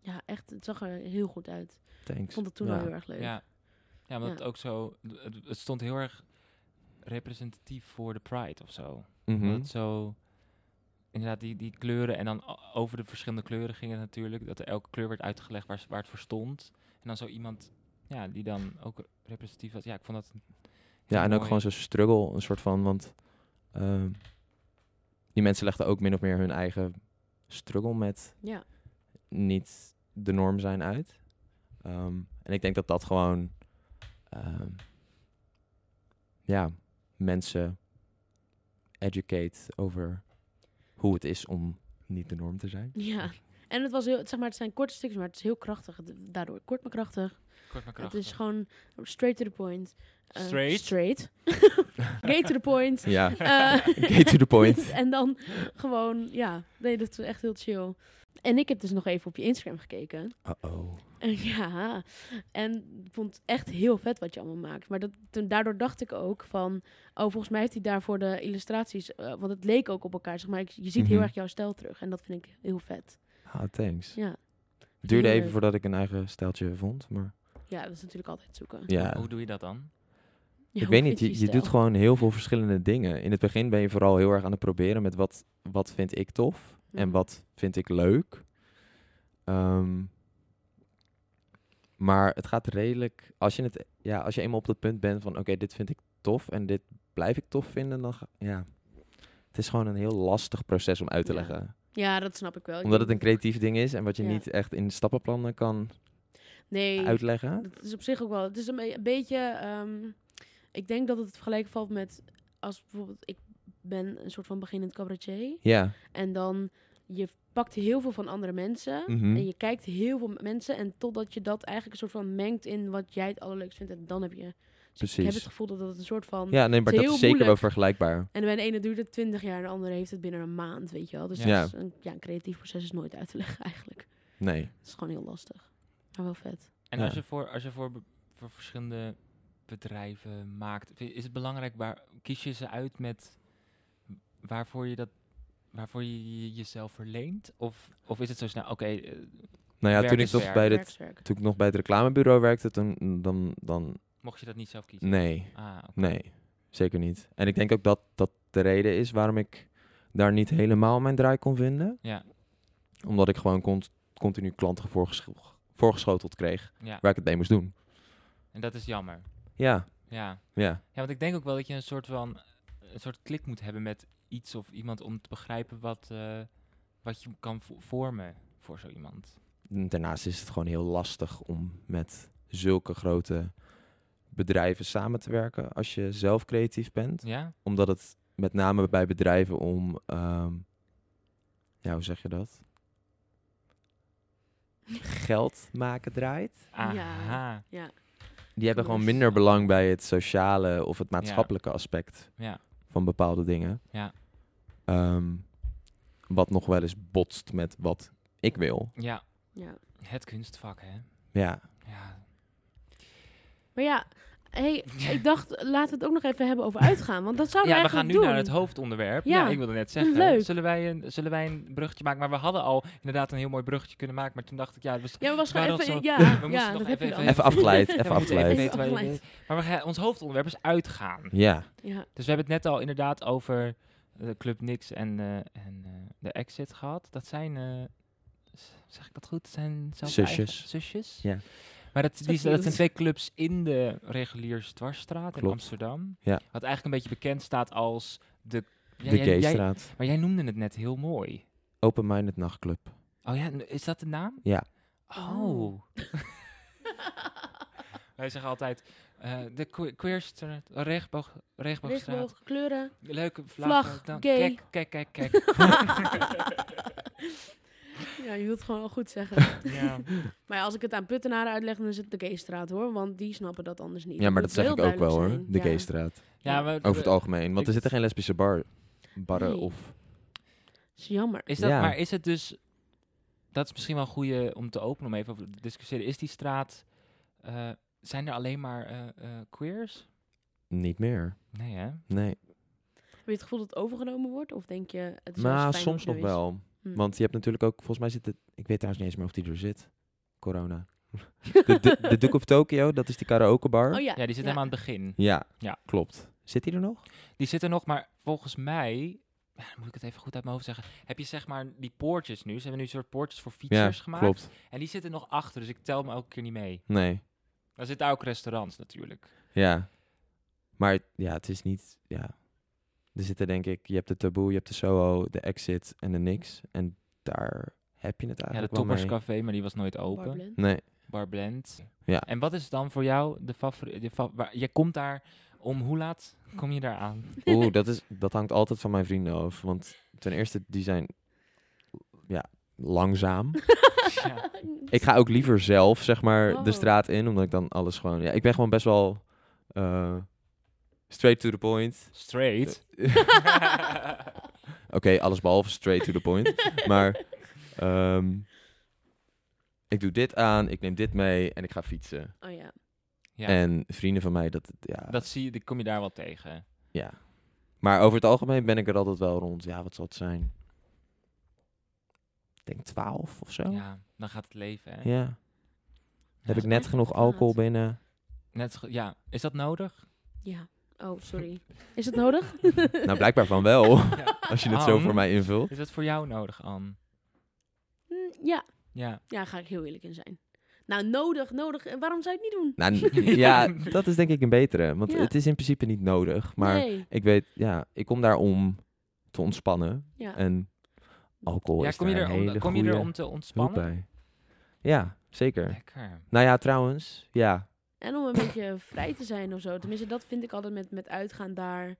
Speaker 2: ja, echt. Het zag er heel goed uit. Ik
Speaker 4: Thanks.
Speaker 2: vond het toen
Speaker 4: Ja.
Speaker 2: al heel erg leuk.
Speaker 1: Ja, ja maar
Speaker 2: Ja.
Speaker 1: het ook zo... Het, het stond heel erg representatief voor de Pride of zo.
Speaker 4: Mhm.
Speaker 1: Dat zo... Inderdaad, die, die kleuren en dan o- over de verschillende kleuren ging het natuurlijk. Dat er elke kleur werd uitgelegd waar, ze- waar het voor stond. En dan zo iemand ja, die dan ook representatief was. Ja, ik vond dat... een heel
Speaker 4: Ja, en ook
Speaker 1: mooi-
Speaker 4: gewoon zo'n struggle, een soort van, want ehm, die mensen legden ook min of meer hun eigen struggle met
Speaker 2: Ja.
Speaker 4: niet de norm zijn uit. Ehm, en ik denk dat dat gewoon, ehm, ja, mensen educate over hoe het is om niet de norm te zijn.
Speaker 2: Ja. En het was heel... Zeg maar, het zijn korte stukjes, maar het is heel krachtig. Het- Daardoor kort maar krachtig.
Speaker 1: Kort maar
Speaker 2: Het is
Speaker 1: krachtig.
Speaker 2: gewoon straight to the point. Eh,
Speaker 1: Straight? [laughs]
Speaker 2: Straight. Gate to the point.
Speaker 4: Ja,
Speaker 2: Eh,
Speaker 4: get to the point.
Speaker 2: [laughs] en dan gewoon, ja. Nee, dat is echt heel chill. En ik heb dus nog even op je Instagram gekeken.
Speaker 4: Uh-oh.
Speaker 2: En [laughs] ja. En vond het echt heel vet wat je allemaal maakt. Maar dat, toen, daardoor dacht ik ook van... Oh, volgens mij heeft hij daarvoor de illustraties... eh, want het leek ook op elkaar, zeg maar. Ik- Je ziet heel
Speaker 4: Mhm.
Speaker 2: erg jouw stijl terug. En dat vind ik heel vet.
Speaker 4: Ah, thanks.
Speaker 2: Ja.
Speaker 4: Duurde
Speaker 2: Heel
Speaker 4: even
Speaker 2: leuk.
Speaker 4: voordat ik een eigen stijltje vond, maar
Speaker 2: Ja, dat is natuurlijk altijd zoeken.
Speaker 4: ja.
Speaker 1: Hoe doe je dat dan?
Speaker 2: Ja,
Speaker 4: ik
Speaker 2: hoe
Speaker 4: weet
Speaker 2: vind
Speaker 4: niet, je, je
Speaker 2: stijl?
Speaker 4: doet gewoon heel veel verschillende dingen. In het begin ben je vooral heel erg aan het proberen met wat, wat vind ik tof en
Speaker 2: Ja.
Speaker 4: wat vind ik leuk. Ehm, maar het gaat redelijk, als je, het, ja, als je eenmaal op dat punt bent van oké, dit vind ik tof en dit blijf ik tof vinden, dan ga, ja. Het is gewoon een heel lastig proces om uit te
Speaker 2: Ja.
Speaker 4: leggen.
Speaker 2: Ja, dat snap ik wel. Ik
Speaker 4: Omdat het een
Speaker 2: denk-
Speaker 4: creatief ding is en wat je
Speaker 2: Ja.
Speaker 4: niet echt in stappenplannen kan
Speaker 2: Nee,
Speaker 4: uitleggen.
Speaker 2: dat is op zich ook wel... Het is een, be- een beetje... ehm, ik denk dat het gelijk valt met... Als bijvoorbeeld... Ik ben een soort van beginnend cabaretier.
Speaker 4: Ja.
Speaker 2: En dan... Je pakt heel veel van andere mensen.
Speaker 1: Hm?
Speaker 4: Mhm.
Speaker 2: En je kijkt heel veel mensen. En totdat je dat eigenlijk een soort van mengt in wat jij het allerleukst vindt. En dan heb je... Dus ik heb
Speaker 4: Precies.
Speaker 2: het gevoel dat dat een soort van...
Speaker 4: Ja, nee, maar
Speaker 2: is
Speaker 4: dat
Speaker 2: heel
Speaker 4: is zeker wel
Speaker 2: moeilijk.
Speaker 4: vergelijkbaar.
Speaker 2: En bij de ene duurt het 20 jaar en de andere heeft het binnen een maand, weet je wel. Dus
Speaker 1: Ja.
Speaker 2: dat
Speaker 4: Ja.
Speaker 2: is een, ja, een creatief proces is nooit uit te leggen eigenlijk.
Speaker 4: Nee.
Speaker 2: Het is gewoon heel lastig. Maar wel vet.
Speaker 1: En
Speaker 4: Ja.
Speaker 1: als je voor, als je voor, be- voor verschillende bedrijven maakt, vi- is het belangrijk waar kies je ze uit met waarvoor je dat waarvoor je je- jezelf verleent? Of, of is het zo snel? Oké, eh,
Speaker 4: Nou ja,
Speaker 1: Werk
Speaker 4: toen ik,
Speaker 1: is
Speaker 4: nog
Speaker 1: werk.
Speaker 4: bij het,
Speaker 2: Werkswerk.
Speaker 4: toen ik nog bij het reclamebureau werkte, toen dan, dan
Speaker 1: mocht je dat niet zelf kiezen?
Speaker 4: nee,
Speaker 1: Ah, oké.
Speaker 4: nee. zeker niet. En ik denk ook dat dat de reden is waarom ik daar niet helemaal mijn draai kon vinden.
Speaker 1: Ja.
Speaker 4: Omdat ik gewoon cont- continu klanten voorgesch- voorgeschoteld kreeg
Speaker 1: Ja.
Speaker 4: waar ik het mee moest doen.
Speaker 1: En dat is jammer.
Speaker 4: Ja,
Speaker 1: Ja.
Speaker 4: ja,
Speaker 1: Ja, want ik denk ook wel dat je een soort van een soort klik moet hebben met iets of iemand om te begrijpen wat, eh, wat je kan vo- vormen voor zo iemand.
Speaker 4: daarnaast is het gewoon heel lastig om met zulke grote bedrijven samen te werken als je zelf creatief bent.
Speaker 1: Ja?
Speaker 4: Omdat het met name bij bedrijven om, ehm, ja, hoe zeg je dat? Geld maken draait.
Speaker 1: Aha.
Speaker 2: Ja.
Speaker 1: Ja.
Speaker 4: Die hebben gewoon
Speaker 2: Klopt.
Speaker 4: minder belang bij het sociale of het maatschappelijke aspect
Speaker 1: Ja.
Speaker 4: van bepaalde dingen.
Speaker 1: Ja.
Speaker 4: Ehm, wat nog wel eens botst met wat ik wil.
Speaker 2: ja.
Speaker 1: Het kunstvak, hè?
Speaker 4: Ja,
Speaker 1: Ja.
Speaker 2: Maar ja, hey, ik dacht, laten we het ook nog even hebben over uitgaan. Want dat zouden
Speaker 1: ja, we
Speaker 2: eigenlijk
Speaker 1: gaan nu
Speaker 2: doen.
Speaker 1: naar het hoofdonderwerp.
Speaker 2: Ja.
Speaker 1: Ja, ik wilde net zeggen.
Speaker 2: Leuk.
Speaker 1: Zullen, wij een, zullen wij een bruggetje maken? Maar we hadden al inderdaad een heel mooi bruggetje kunnen maken. Maar toen dacht ik, ja, dus- het was-
Speaker 2: Ja, maar was gewoon
Speaker 1: Waarom
Speaker 2: even...
Speaker 1: zo- [laughs]
Speaker 2: Ja,
Speaker 1: We
Speaker 2: ja,
Speaker 1: moesten nog
Speaker 2: dat
Speaker 1: even-
Speaker 2: heb je dan.
Speaker 1: even-
Speaker 4: even
Speaker 2: [laughs]
Speaker 4: afgeleid,
Speaker 1: Ja, we
Speaker 4: even
Speaker 1: moeten
Speaker 4: afgeleid.
Speaker 1: weten waar je-
Speaker 2: Afgeleid.
Speaker 1: Maar we gaan, ons hoofdonderwerp is uitgaan.
Speaker 4: Ja,
Speaker 2: Ja,
Speaker 1: Dus we hebben het net al inderdaad over eh, Club Nix en, eh, en eh, de Exit gehad. Dat zijn, eh, z- zeg ik dat goed? Dat zijn zelfs
Speaker 4: Zusjes.
Speaker 1: eigen- zusjes.
Speaker 4: Ja.
Speaker 1: Maar dat, die,
Speaker 2: cute.
Speaker 1: dat zijn twee clubs in de reguliers dwarsstraat in
Speaker 4: Klopt.
Speaker 1: Amsterdam.
Speaker 4: Ja.
Speaker 1: Wat eigenlijk een beetje bekend staat als de... Ja,
Speaker 4: de
Speaker 1: jij- jij-
Speaker 4: Gaystraat.
Speaker 1: maar jij noemde het net heel mooi.
Speaker 4: Open-minded nachtclub.
Speaker 1: Oh ja, n- is dat de naam?
Speaker 4: Ja.
Speaker 1: Oh. Wij zeggen altijd eh, de que- queerstraat, regenboog, regenboogstraat.
Speaker 2: regenboog, kleuren.
Speaker 1: Leuke
Speaker 2: Vlag,
Speaker 1: vlag. dan-
Speaker 2: gay.
Speaker 1: Kijk, kijk, kijk, [laughs] kijk.
Speaker 2: ja, je wilt het gewoon wel goed zeggen.
Speaker 1: ja.
Speaker 2: Maar ja, als ik het aan Puttenaren uitleg, dan is het de gaystraat hoor. Want die snappen dat anders niet.
Speaker 4: Ja, maar dat
Speaker 2: Moet
Speaker 4: zeg
Speaker 2: heel
Speaker 4: ik ook wel
Speaker 2: duidelijk
Speaker 4: hoor.
Speaker 2: zijn.
Speaker 4: De
Speaker 2: Ja.
Speaker 4: Gaystraat.
Speaker 1: ja, maar
Speaker 4: Over het algemeen. Want
Speaker 1: ik-
Speaker 4: er zitten geen lesbische bar, barren
Speaker 2: Nee.
Speaker 4: of...
Speaker 2: Is jammer.
Speaker 1: Is dat,
Speaker 4: Ja.
Speaker 1: Maar is het dus... Dat is misschien wel een goede om te openen, om even over te discussiëren. Is die straat... eh, zijn er alleen maar eh, eh, queers?
Speaker 4: Niet meer.
Speaker 1: Nee, hè?
Speaker 4: Nee.
Speaker 2: Heb je het gevoel dat het overgenomen wordt? Of denk je, het is juist
Speaker 4: Maar
Speaker 2: fijn
Speaker 4: Nou, soms
Speaker 2: dat
Speaker 4: nog
Speaker 2: het er is?
Speaker 4: wel.
Speaker 2: Hm.
Speaker 4: Want je hebt natuurlijk ook, volgens mij zit het, ik weet trouwens niet eens meer of die er zit.
Speaker 2: [laughs]
Speaker 4: Corona. de, de, de Duke of Tokyo, dat is die karaoke bar.
Speaker 2: Oh ja,
Speaker 1: Ja, die zit helemaal aan het begin.
Speaker 4: ja.
Speaker 1: Ja.
Speaker 4: klopt. Zit die er nog?
Speaker 1: Die zit er nog, maar volgens mij... Ja, dan moet ik het even goed uit mijn hoofd zeggen. Heb je zeg maar die poortjes nu? Ze hebben nu een soort poortjes voor fietsers gemaakt.
Speaker 4: klopt.
Speaker 1: En die zitten nog achter, dus ik tel me elke keer niet mee.
Speaker 4: Nee.
Speaker 1: Dan zitten daar ook restaurants natuurlijk.
Speaker 4: Ja. Maar ja, het is niet, ja. Er zitten denk ik, je hebt de Taboe, je hebt de Soho, de Exit en de Nix. En daar heb je het
Speaker 1: Ja, de
Speaker 4: eigenlijk wel mee.
Speaker 1: Topperscafé, maar die was nooit open.
Speaker 2: Bar Blend.
Speaker 4: Nee.
Speaker 1: Bar Blend.
Speaker 4: Ja.
Speaker 1: En wat is dan voor jou de favoriete... waar je komt daar om hoe laat kom je daar aan?
Speaker 2: [laughs]
Speaker 4: Oeh, dat, is, dat hangt altijd van mijn vrienden af. Want ten eerste, die zijn, ja, langzaam.
Speaker 1: Ja.
Speaker 4: Ik [laughs] ga ook liever zelf, zeg maar,
Speaker 2: Oh.
Speaker 4: de straat in, omdat ik dan alles gewoon... Ja, ik ben gewoon best wel eh, straight to the point.
Speaker 1: Straight.
Speaker 4: Oké, alles behalve straight to the
Speaker 1: [laughs]
Speaker 4: point. maar ehm, ik doe dit aan, ik neem dit mee en ik ga fietsen.
Speaker 2: Oh ja.
Speaker 1: ja,
Speaker 4: En vrienden van mij, dat... Ja,
Speaker 1: dat zie je, die kom je daar wel tegen.
Speaker 4: ja. Maar over het algemeen ben ik er altijd wel rond. Ja, wat zal het zijn? Ik denk 12 of zo. Ja.
Speaker 1: Ja, dan gaat het leven, hè?
Speaker 4: Heb
Speaker 1: Ja.
Speaker 4: ik net genoeg alcohol binnen?
Speaker 1: Net, zo goed- ja, is dat nodig?
Speaker 2: Ja. Oh, sorry. Is het nodig?
Speaker 4: Nou,
Speaker 2: [laughs]
Speaker 4: blijkbaar van
Speaker 1: [laughs]
Speaker 4: wel,
Speaker 1: Ja.
Speaker 4: als je het zo
Speaker 1: Ann,
Speaker 4: voor mij invult.
Speaker 1: Is dat voor jou nodig, Anne?
Speaker 2: Mm, ja.
Speaker 1: Ja.
Speaker 2: Ja, daar ga ik heel eerlijk in zijn. Nou, nodig, nodig. En Waarom zou je het niet doen?
Speaker 4: Nou, n- ja, dat is denk ik een betere. Want
Speaker 2: Ja.
Speaker 4: het is in principe niet nodig. Maar
Speaker 2: Nee.
Speaker 4: ik weet, ja, ik kom daar om te ontspannen.
Speaker 2: Ja.
Speaker 4: En alcohol
Speaker 1: ja,
Speaker 4: is
Speaker 1: kom je,
Speaker 4: daar
Speaker 1: er
Speaker 4: een hele
Speaker 1: om, kom je er
Speaker 4: goeie
Speaker 1: om te
Speaker 4: hulp
Speaker 1: ontspannen?
Speaker 4: bij. Ja, zeker.
Speaker 1: Lekker.
Speaker 4: Nou ja, trouwens, ja.
Speaker 2: En om een beetje vrij te zijn of zo. Tenminste, dat vind ik altijd met, met uitgaan daar.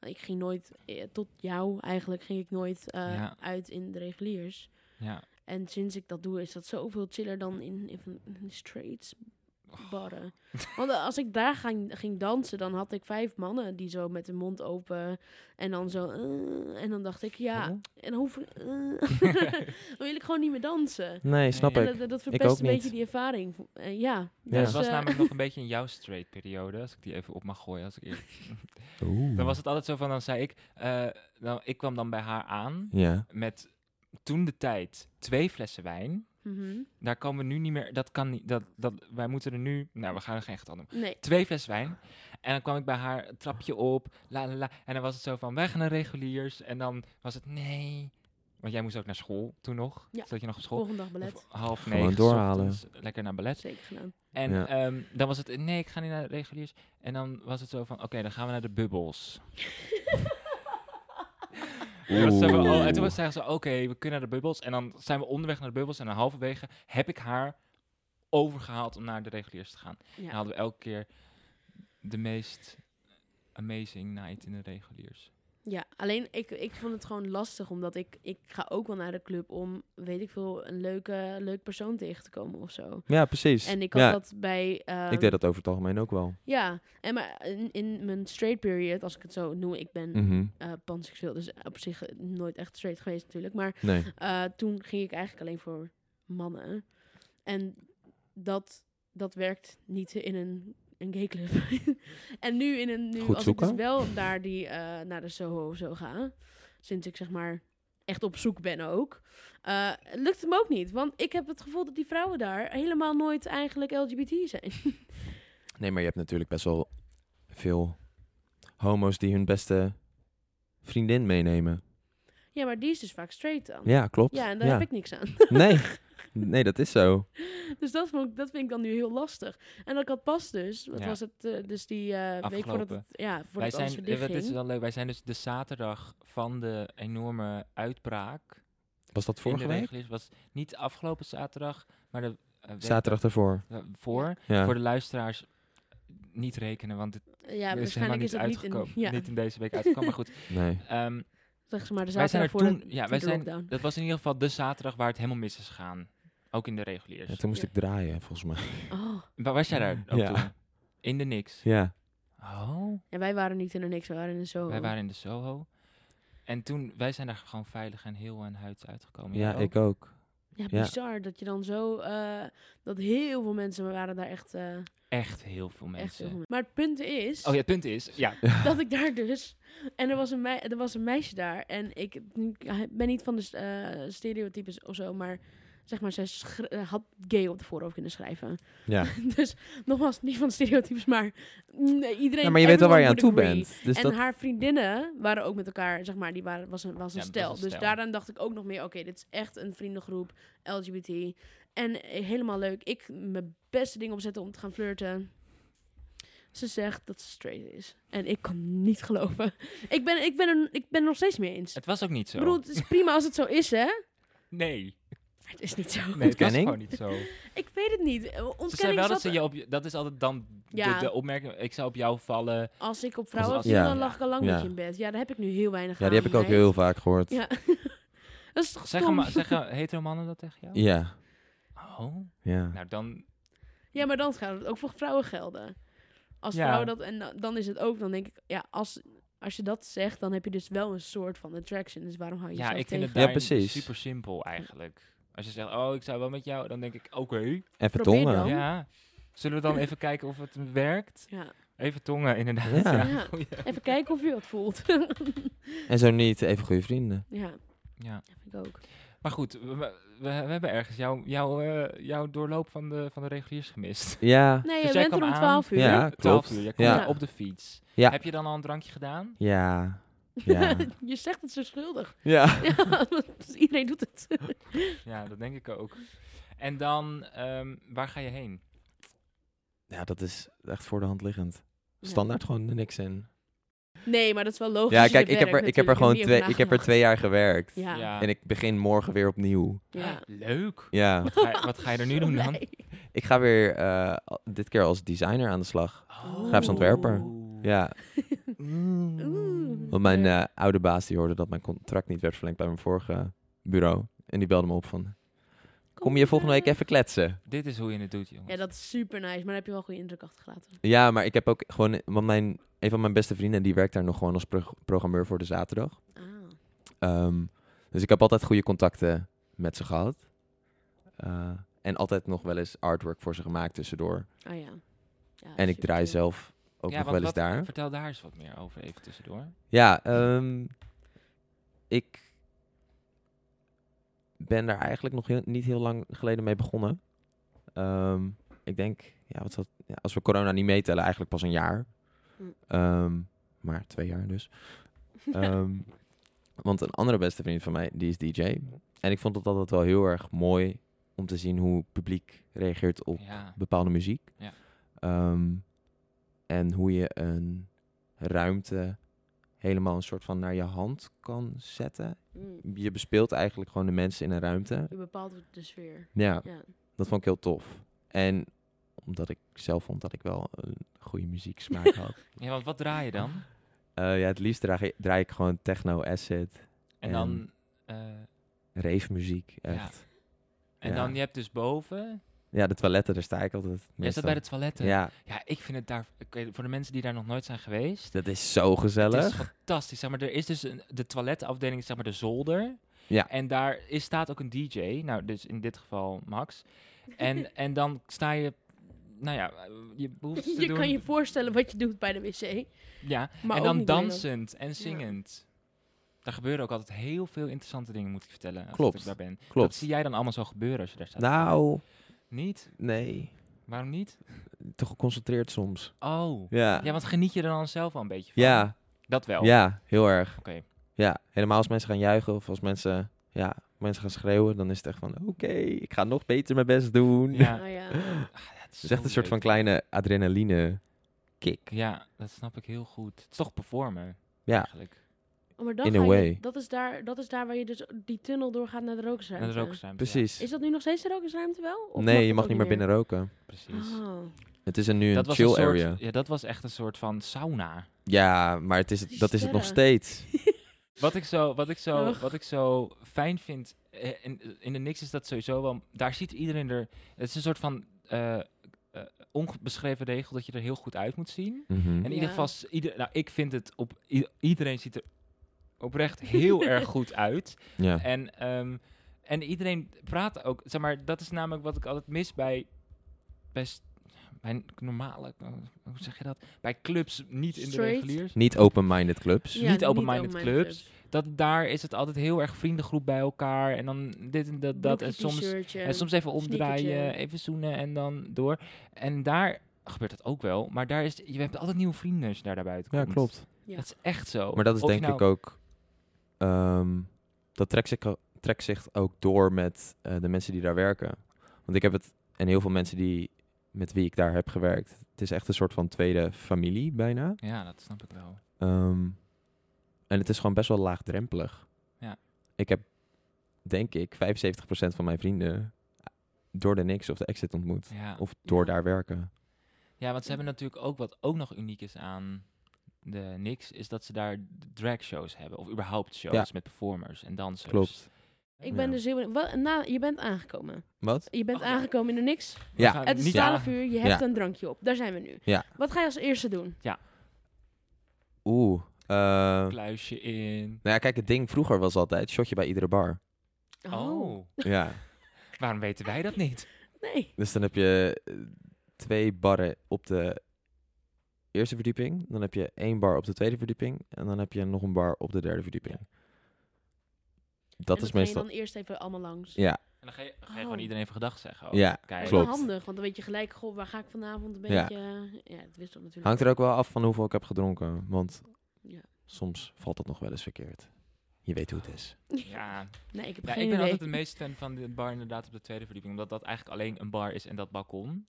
Speaker 2: Ik ging nooit, eh, tot jou eigenlijk, ging ik nooit eh,
Speaker 1: Ja.
Speaker 2: uit in de reguliers.
Speaker 1: Ja.
Speaker 2: En sinds ik dat doe, is dat zoveel chiller dan in, in, van- in de straights barren. Want eh, als ik daar ging, ging dansen, dan had ik vijf mannen die zo met hun mond open en dan zo... eh, en dan dacht ik, ja,
Speaker 4: Oh.
Speaker 2: en dan hoef ik... eh,
Speaker 4: [laughs]
Speaker 2: dan wil ik gewoon niet meer dansen.
Speaker 4: Nee, snap
Speaker 1: Nee.
Speaker 2: En
Speaker 4: ik.
Speaker 2: dat, dat- dat
Speaker 4: ook
Speaker 2: verpest een
Speaker 4: niet.
Speaker 2: beetje die ervaring. Vo- eh, ja,
Speaker 4: Ja.
Speaker 1: Dat
Speaker 2: dus,
Speaker 1: was
Speaker 2: eh,
Speaker 1: namelijk nog een beetje in jouw straight periode, als ik die even op mag gooien. Als ik eer- Dan was het altijd zo van, dan zei ik, eh, nou, ik kwam dan bij haar aan
Speaker 4: Ja,
Speaker 1: met toen de tijd twee flessen wijn.
Speaker 2: mhm.
Speaker 1: Daar komen we nu niet meer, dat kan niet, dat, dat, wij moeten er nu, nou we gaan er geen getal noemen.
Speaker 2: Nee.
Speaker 1: Twee flessen wijn En dan kwam ik bij haar een trapje op, la la la. En dan was het zo van, weg naar reguliers. En dan was het, nee. Want jij moest ook naar school toen nog.
Speaker 2: Ja.
Speaker 1: Zat je nog op school?
Speaker 2: Volgende dag belet.
Speaker 1: Of half
Speaker 4: Gewoon
Speaker 1: negen. 's
Speaker 4: doorhalen.
Speaker 1: ochtends, eh, Lekker naar ballet.
Speaker 2: Zeker
Speaker 1: [laughs]
Speaker 2: gedaan.
Speaker 1: En
Speaker 4: Ja.
Speaker 1: ehm, dan was het, nee, ik ga niet naar de reguliers. En dan was het zo van, oké, dan gaan we naar de bubbels. Toen was ze van, oh, en toen was zij zo, oké, we kunnen naar de bubbels. En dan zijn we onderweg naar de bubbels. En dan halverwege heb ik haar overgehaald om naar de reguliers te gaan.
Speaker 2: Ja.
Speaker 1: En hadden we elke keer de meest amazing night in de reguliers.
Speaker 2: Ja, alleen ik, ik vond het gewoon lastig, omdat ik, ik ga ook wel naar de club om, weet ik veel, een leuke, leuk persoon tegen te komen of zo.
Speaker 4: Ja, precies.
Speaker 2: En ik had
Speaker 4: ja,
Speaker 2: dat bij... ehm,
Speaker 4: ik deed dat over het algemeen ook wel.
Speaker 2: Ja, en maar in, in mijn straight period, als ik het zo noem, ik ben
Speaker 4: Mhm.
Speaker 2: eh, panseksueel, dus op zich eh, nooit echt straight geweest natuurlijk. Maar
Speaker 4: Nee.
Speaker 2: eh, toen ging ik eigenlijk alleen voor mannen. En dat, dat werkt niet in een, een gay club. [laughs] en nu, in een, nu
Speaker 4: Goed
Speaker 2: als ik dus
Speaker 4: zoeken.
Speaker 2: wel naar, die, eh, naar de Soho of zo ga, sinds ik zeg maar echt op zoek ben ook, eh, lukt het me ook niet. Want ik heb het gevoel dat die vrouwen daar helemaal nooit eigenlijk LGBT zijn.
Speaker 4: Nee, maar je hebt natuurlijk best wel veel homo's die hun beste vriendin meenemen.
Speaker 2: Ja, maar die is dus vaak straight dan.
Speaker 4: Ja, klopt.
Speaker 2: Ja, en daar heb ik niks aan.
Speaker 4: Nee. nee, dat is zo.
Speaker 2: Dus dat, vond ik, dat vind ik dan nu heel lastig. En dat ik had pas dus, wat
Speaker 1: Ja.
Speaker 2: was het, eh, dus die eh week voordat
Speaker 1: Afgelopen.
Speaker 2: het, ja, voordat
Speaker 1: Wij
Speaker 2: het alles
Speaker 1: zijn,
Speaker 2: weer
Speaker 1: eh,
Speaker 2: dicht
Speaker 1: dit is
Speaker 2: ging.
Speaker 1: wel leuk, wij zijn dus de zaterdag van de enorme uitbraak.
Speaker 4: Was dat
Speaker 1: in
Speaker 4: vorige
Speaker 1: de
Speaker 4: week?
Speaker 1: reguliers was niet afgelopen zaterdag, maar de eh, week
Speaker 4: Zaterdag daarvoor.
Speaker 1: eh, voor.
Speaker 4: Ja.
Speaker 1: Voor de luisteraars eh, niet rekenen, want het
Speaker 2: Ja,
Speaker 1: is helemaal
Speaker 2: waarschijnlijk
Speaker 1: niet
Speaker 2: is het niet in,
Speaker 1: uitgekomen.
Speaker 2: ja,
Speaker 1: Niet in deze week uitgekomen, maar goed.
Speaker 2: [laughs]
Speaker 4: Nee.
Speaker 1: ehm,
Speaker 2: zeg maar de
Speaker 1: wij zijn
Speaker 2: zaterdag
Speaker 1: er
Speaker 2: voor
Speaker 1: toen,
Speaker 2: de,
Speaker 1: ja,
Speaker 2: voor
Speaker 1: wij
Speaker 2: de
Speaker 1: zijn,
Speaker 2: lockdown.
Speaker 1: dat was in ieder geval de zaterdag waar het helemaal mis is gegaan. Ook in de reguliers.
Speaker 4: Ja, toen moest
Speaker 2: Ja.
Speaker 4: ik draaien, volgens mij.
Speaker 2: Oh.
Speaker 1: Waar was jij daar ook
Speaker 4: Ja.
Speaker 1: toen? In de niks.
Speaker 4: Ja.
Speaker 1: Oh,
Speaker 2: Ja, wij waren niet in een niks, we waren in een zo.
Speaker 1: wij waren in de Soho. En toen, wij zijn daar gewoon veilig en heel en huid uitgekomen.
Speaker 4: Ja,
Speaker 1: Jij ook?
Speaker 4: ik ook.
Speaker 2: Ja,
Speaker 4: ja.
Speaker 2: bizar dat je dan zo, eh, dat heel veel mensen waren daar echt, eh,
Speaker 1: Echt heel veel
Speaker 2: echt
Speaker 1: mensen.
Speaker 2: heel veel mensen. Maar het punt is,
Speaker 1: Oh ja, het punt is,
Speaker 4: [laughs]
Speaker 1: ja,
Speaker 2: dat ik daar dus, en er was een, mei- er was een meisje daar en ik ik ben niet van de eh, stereotypes of zo, maar zeg maar, zij schre- eh, had gay op de voorhoofd kunnen schrijven. [laughs]
Speaker 4: Ja.
Speaker 2: dus nogmaals, niet van stereotypes, maar mm, iedereen...
Speaker 4: Ja, maar je weet wel waar je aan
Speaker 2: everyone
Speaker 4: toe
Speaker 2: would agree.
Speaker 4: bent. Dus
Speaker 2: en
Speaker 4: dat...
Speaker 2: haar vriendinnen waren ook met elkaar, zeg maar, die waren, was een, was een
Speaker 1: Ja, dat was
Speaker 2: stel.
Speaker 1: een
Speaker 2: Dus
Speaker 1: stel.
Speaker 2: daaraan dacht ik ook nog meer, oké, dit is echt een vriendengroep, LGBT. En eh, helemaal leuk. Ik mijn beste ding opzetten om te gaan flirten. Ze zegt dat ze straight is. En ik kan niet geloven. Ik ben, ik ben, er, ik ben er nog steeds mee eens.
Speaker 1: het was ook niet zo.
Speaker 2: Ik bedoel, het is prima als het zo is, hè?
Speaker 1: nee,
Speaker 2: Maar het is niet zo.
Speaker 1: nee [laughs] het was
Speaker 4: Ontkenning?
Speaker 1: gewoon
Speaker 2: [laughs]
Speaker 1: niet zo.
Speaker 2: Ik weet het niet. Eh,
Speaker 1: Ze zei
Speaker 2: Ontkenning
Speaker 1: wel
Speaker 2: zat
Speaker 1: dat ze je op je- dat is altijd dan de-
Speaker 2: Ja.
Speaker 1: de, opmerking, ik zou op jou vallen.
Speaker 2: Als ik op vrouwen
Speaker 1: als-
Speaker 2: viel,
Speaker 4: Ja.
Speaker 2: dan lag ik al lang
Speaker 4: Ja.
Speaker 2: met je in bed. Ja, daar heb ik nu heel weinig
Speaker 4: Ja,
Speaker 2: aan.
Speaker 4: die heb ik ook
Speaker 2: meid.
Speaker 4: heel vaak gehoord.
Speaker 2: Ja. Dat is toch
Speaker 1: Zeggen,
Speaker 2: stom?
Speaker 1: ma- zeggen [laughs] hetero mannen dat tegen jou?
Speaker 4: Ja.
Speaker 1: Oh,
Speaker 4: Ja.
Speaker 1: nou dan,
Speaker 2: Ja, maar dan gaat het ook voor vrouwen gelden. Als
Speaker 1: Ja.
Speaker 2: vrouwen dat... En da- dan is het ook, dan denk ik... Ja, als, als je dat zegt, dan heb je dus wel een soort van attraction. Dus waarom hou je
Speaker 1: ja,
Speaker 2: jezelf
Speaker 1: ik vind het
Speaker 2: tegen?
Speaker 4: Ja,
Speaker 1: daarin
Speaker 4: precies.
Speaker 1: super simpel eigenlijk. Als je zegt, oh, ik zou wel met jou, dan denk ik, oké.
Speaker 4: Even
Speaker 2: Probeer
Speaker 4: tongen.
Speaker 2: dan.
Speaker 1: Ja, zullen we dan even kijken of het werkt?
Speaker 2: Ja.
Speaker 1: Even tongen, inderdaad. [laughs]
Speaker 4: Ja.
Speaker 1: Ja,
Speaker 2: Ja.
Speaker 1: goeie.
Speaker 2: Even kijken of je wat
Speaker 1: [laughs]
Speaker 2: voelt.
Speaker 4: En zo niet, even goede vrienden.
Speaker 2: ja,
Speaker 1: ja.
Speaker 2: dat vind ik ook.
Speaker 1: Maar goed, we, we, we hebben ergens jouw jou, eh, jouw doorloop van de, van de reguliers gemist.
Speaker 4: Ja.
Speaker 2: Nee,
Speaker 1: Dus
Speaker 2: je
Speaker 1: jij
Speaker 2: bent er
Speaker 1: kwam
Speaker 2: om
Speaker 1: aan.
Speaker 2: 12 uur. [laughs]
Speaker 4: Ja,
Speaker 1: Twaalf
Speaker 4: klopt.
Speaker 1: uur, jij
Speaker 4: Ja.
Speaker 1: komt op de fiets.
Speaker 4: Ja.
Speaker 1: Heb je dan al een drankje gedaan?
Speaker 4: Ja. Ja.
Speaker 2: je zegt het zo schuldig. [laughs]
Speaker 4: ja.
Speaker 2: Ja, want iedereen doet het.
Speaker 1: Ja, dat denk ik ook. En dan, ehm, waar ga je heen?
Speaker 4: Ja, dat is echt voor de hand liggend. [laughs] Standaard gewoon er niks in.
Speaker 2: Nee, maar dat is wel logisch.
Speaker 4: Ja,
Speaker 2: als je
Speaker 4: kijk, ik heb er,
Speaker 2: werkt
Speaker 4: ik heb er
Speaker 2: natuurlijk.
Speaker 4: gewoon
Speaker 2: heb
Speaker 4: twee,
Speaker 2: niet
Speaker 4: ik heb er
Speaker 2: over
Speaker 4: twee jaar gewerkt.
Speaker 2: nagedacht. Ja.
Speaker 4: En ik begin morgen weer opnieuw.
Speaker 2: ja.
Speaker 1: Leuk.
Speaker 2: [laughs]
Speaker 4: Ja.
Speaker 1: Wat ga, je- wat ga je er nu doen dan?
Speaker 2: Nee.
Speaker 4: Ik ga weer eh, al- dit keer als designer aan de slag.
Speaker 2: Oh.
Speaker 4: Graafs ontwerper.
Speaker 1: Oeh.
Speaker 4: Ja.
Speaker 2: Oeh.
Speaker 4: Want mijn eh, oude baas die hoorde dat mijn contract niet werd verlengd bij mijn vorige bureau. En die belde me op van, kom je volgende week even kletsen?
Speaker 1: Dit is hoe je het doet, jongens.
Speaker 2: Ja, dat is super nice. Maar dan heb je wel een goede indruk achtergelaten.
Speaker 4: Ja, maar ik heb ook gewoon, want mijn, een van mijn beste vrienden die werkt daar nog gewoon als pro- programmeur voor de zaterdag.
Speaker 2: Ah.
Speaker 4: Ehm, dus ik heb altijd goede contacten met ze gehad. Eh, en altijd nog wel eens artwork voor ze gemaakt tussendoor.
Speaker 2: Oh ja. ja
Speaker 4: En ik draai
Speaker 2: zelf.
Speaker 4: zelf
Speaker 1: Ah,
Speaker 4: ook
Speaker 1: Ja, want
Speaker 4: nog wel eens
Speaker 1: wat-
Speaker 4: daar.
Speaker 1: Vertel daar eens wat meer over, even tussendoor.
Speaker 4: Ja, ehm, ik ben daar eigenlijk nog heel- niet heel lang geleden mee begonnen. Ehm, ik denk, ja, wat zat, ja, als we corona niet meetellen, eigenlijk pas een jaar.
Speaker 2: Hm.
Speaker 4: Ehm, maar twee jaar dus.
Speaker 2: [laughs]
Speaker 4: Ehm, want een andere beste vriend van mij, die is DJ. En ik vond het altijd wel heel erg mooi om te zien hoe het publiek reageert op
Speaker 1: Ja.
Speaker 4: bepaalde muziek.
Speaker 1: Ja.
Speaker 4: Ehm, en hoe je een ruimte helemaal een soort van naar je hand kan zetten.
Speaker 2: Mm.
Speaker 4: Je bespeelt eigenlijk gewoon de mensen in een ruimte.
Speaker 2: Je bepaalt de sfeer.
Speaker 4: Ja,
Speaker 2: Ja.
Speaker 4: dat vond ik heel tof. En omdat ik zelf vond dat ik wel een goede muzieksmaak had.
Speaker 1: [laughs] ja, want wat draai je dan?
Speaker 4: Eh, ja, het liefst draai, draai ik gewoon techno, acid,
Speaker 1: En
Speaker 4: En-
Speaker 1: dan, eh,
Speaker 4: rave muziek, echt. Ja.
Speaker 1: en
Speaker 4: Ja.
Speaker 1: dan je hebt dus boven.
Speaker 4: de toiletten, daar sta ik altijd.
Speaker 1: Jij staat bij de toiletten.
Speaker 4: Ja,
Speaker 1: Ja, ik vind het daar, ik weet- voor de mensen die daar nog nooit zijn geweest,
Speaker 4: dat is zo
Speaker 1: het is
Speaker 4: gezellig.
Speaker 1: fantastisch. Zeg maar, er is dus een, de toiletafdeling, is zeg maar de zolder.
Speaker 4: Ja.
Speaker 1: En daar is, staat ook een DJ, nou dus in dit geval Max.
Speaker 2: [laughs]
Speaker 1: En, en dan sta je, nou ja, je hoeft te
Speaker 2: Je
Speaker 1: doen.
Speaker 2: kan je voorstellen wat je doet bij de wc.
Speaker 1: Ja,
Speaker 2: Maar
Speaker 1: en
Speaker 2: ook
Speaker 1: dan
Speaker 2: niet alleen
Speaker 1: dansend en zingend. Daar gebeuren ook altijd heel veel interessante dingen, moet ik vertellen. Als
Speaker 4: Klopt.
Speaker 1: ik daar ben. Dat
Speaker 4: Klopt.
Speaker 1: zie jij dan allemaal zo gebeuren als je daar staat.
Speaker 4: Nou,
Speaker 1: Niet?
Speaker 4: nee.
Speaker 1: Waarom niet?
Speaker 4: Te geconcentreerd soms.
Speaker 1: Oh.
Speaker 4: Ja.
Speaker 1: Ja, want geniet je er dan zelf wel een beetje van?
Speaker 4: Ja,
Speaker 1: Dat wel.
Speaker 4: ja, heel erg.
Speaker 1: Oké.
Speaker 4: Ja, helemaal als mensen gaan juichen of als mensen, ja, mensen gaan schreeuwen, dan is het echt van, oké, ik ga nog beter mijn best doen.
Speaker 1: Ja.
Speaker 4: [laughs]
Speaker 2: Nou ja.
Speaker 1: dat
Speaker 4: Het is echt
Speaker 1: zo
Speaker 4: een soort van
Speaker 1: leuk.
Speaker 4: kleine adrenaline kick.
Speaker 1: Ja, dat snap ik heel goed. Het is toch performen.
Speaker 4: Ja.
Speaker 1: Eigenlijk.
Speaker 2: Oh, maar dan
Speaker 4: In
Speaker 2: ga
Speaker 4: a
Speaker 2: je-
Speaker 4: way.
Speaker 2: dat, is daar, dat is daar waar je dus die tunnel doorgaat naar de
Speaker 1: En
Speaker 2: rokersruimte.
Speaker 1: dat ook zijn.
Speaker 4: Precies.
Speaker 2: Is dat nu nog steeds de rokersruimte wel? Of
Speaker 4: nee,
Speaker 2: dat
Speaker 4: je mag
Speaker 2: ook
Speaker 4: niet meer binnen roken.
Speaker 1: precies.
Speaker 2: Oh.
Speaker 4: Het is er nu een
Speaker 1: Dat was
Speaker 4: chill
Speaker 1: een soort,
Speaker 4: area.
Speaker 1: Ja, dat was echt een soort van sauna.
Speaker 4: Ja, maar het is het,
Speaker 2: Die
Speaker 4: dat is het nog
Speaker 1: [laughs]
Speaker 2: sterren.
Speaker 4: steeds.
Speaker 1: Wat ik zo, wat ik zo,
Speaker 2: Ugh.
Speaker 1: wat ik zo fijn vind eh, in, in de niks is dat sowieso wel. Daar ziet iedereen er. Het is een soort van eh, eh, onbeschreven regel dat je er heel goed uit moet zien.
Speaker 4: Hm. Mhm,
Speaker 1: En in
Speaker 2: Ja.
Speaker 1: ieder geval, s- ieder, nou, ik vind het op i- iedereen ziet er oprecht
Speaker 2: [laughs]
Speaker 1: heel erg goed uit.
Speaker 4: Ja.
Speaker 1: En, ehm, en iedereen praat ook. Zeg maar, dat is namelijk wat ik altijd mis bij. bij, s- bij normale. eh, Hoe zeg je dat? Bij clubs, niet in
Speaker 2: Straight?
Speaker 1: de reguliers.
Speaker 4: Niet open-minded clubs.
Speaker 2: Ja,
Speaker 1: dus niet open-minded clubs.
Speaker 2: clubs.
Speaker 1: Dat daar is het altijd heel erg vriendengroep bij elkaar. En dan dit en dat. dat en,
Speaker 2: Broekje,
Speaker 1: soms,
Speaker 2: t-shirtje,
Speaker 1: en soms even omdraaien,
Speaker 2: sneakertje.
Speaker 1: even zoenen en dan door. En daar gebeurt dat ook wel. Maar daar is, je hebt altijd nieuwe vrienden als je daar naar buiten
Speaker 4: Ja,
Speaker 1: komt.
Speaker 4: klopt.
Speaker 2: Ja.
Speaker 1: Dat is echt zo.
Speaker 4: Maar dat is
Speaker 1: Of je
Speaker 4: denk ik
Speaker 1: nou-
Speaker 4: ook... ehm, dat trekt zich, trekt zich ook door met eh, de mensen die daar werken. Want ik heb het... En heel veel mensen die, met wie ik daar heb gewerkt. Het is echt een soort van tweede familie bijna.
Speaker 1: Ja, dat snap ik wel.
Speaker 4: Ehm, en het is gewoon best wel laagdrempelig.
Speaker 1: Ja.
Speaker 4: Ik heb, denk ik, 75% van mijn vrienden eh, door de niks of de exit ontmoet.
Speaker 1: Ja.
Speaker 4: Of door
Speaker 2: Ja.
Speaker 4: daar werken.
Speaker 1: Ja, want ze hebben natuurlijk ook wat ook nog uniek is aan de Nix, is dat ze daar dragshows hebben. Of überhaupt shows
Speaker 4: Ja.
Speaker 1: met performers en dansers.
Speaker 4: Klopt.
Speaker 2: Ik ben
Speaker 4: Ja.
Speaker 2: dus heel benieuwd. Wat- na, je bent aangekomen.
Speaker 4: Wat?
Speaker 2: Je bent
Speaker 1: Oh, ja.
Speaker 2: aangekomen in de niks.
Speaker 1: We
Speaker 4: Ja.
Speaker 1: gaan
Speaker 2: Het is
Speaker 1: niet
Speaker 2: 12
Speaker 1: aan-
Speaker 2: uur, je hebt een drankje op. Daar zijn we nu.
Speaker 4: Ja.
Speaker 2: Wat ga je als eerste doen?
Speaker 4: Oeh. eh, nou
Speaker 1: Kluisje in.
Speaker 4: ja, kijk, het ding vroeger was altijd shotje bij iedere
Speaker 1: [laughs]
Speaker 4: bar.
Speaker 1: Oh,
Speaker 4: ja.
Speaker 1: waarom weten wij dat niet?
Speaker 2: Nee.
Speaker 4: Dus dan heb je eh, twee barren op de eerste verdieping. Dan heb je één bar op de tweede verdieping. En dan heb je nog een bar op de derde verdieping. Dat
Speaker 2: En
Speaker 4: is
Speaker 2: ga je
Speaker 4: meestal...
Speaker 2: dan eerst even allemaal langs.
Speaker 4: Ja,
Speaker 1: En dan ga je, ga je
Speaker 2: Oh.
Speaker 1: gewoon iedereen even gedag zeggen. ook.
Speaker 4: Ja,
Speaker 1: Kijk.
Speaker 2: Dat is
Speaker 4: klopt.
Speaker 2: wel handig, want dan weet je gelijk, goh, waar ga ik vanavond een
Speaker 4: Ja.
Speaker 2: beetje... Ja, dat wist ik natuurlijk.
Speaker 4: hangt er ook wel af van hoeveel ik heb gedronken. Want
Speaker 2: Ja.
Speaker 4: soms valt dat nog wel eens verkeerd. Je weet hoe het is.
Speaker 1: Ja,
Speaker 2: [laughs] Nee, ik heb
Speaker 1: Ja,
Speaker 2: geen
Speaker 1: ik ben
Speaker 2: idee.
Speaker 1: altijd de meest fan van de bar inderdaad op de tweede verdieping. Omdat dat eigenlijk alleen een bar is en dat balkon.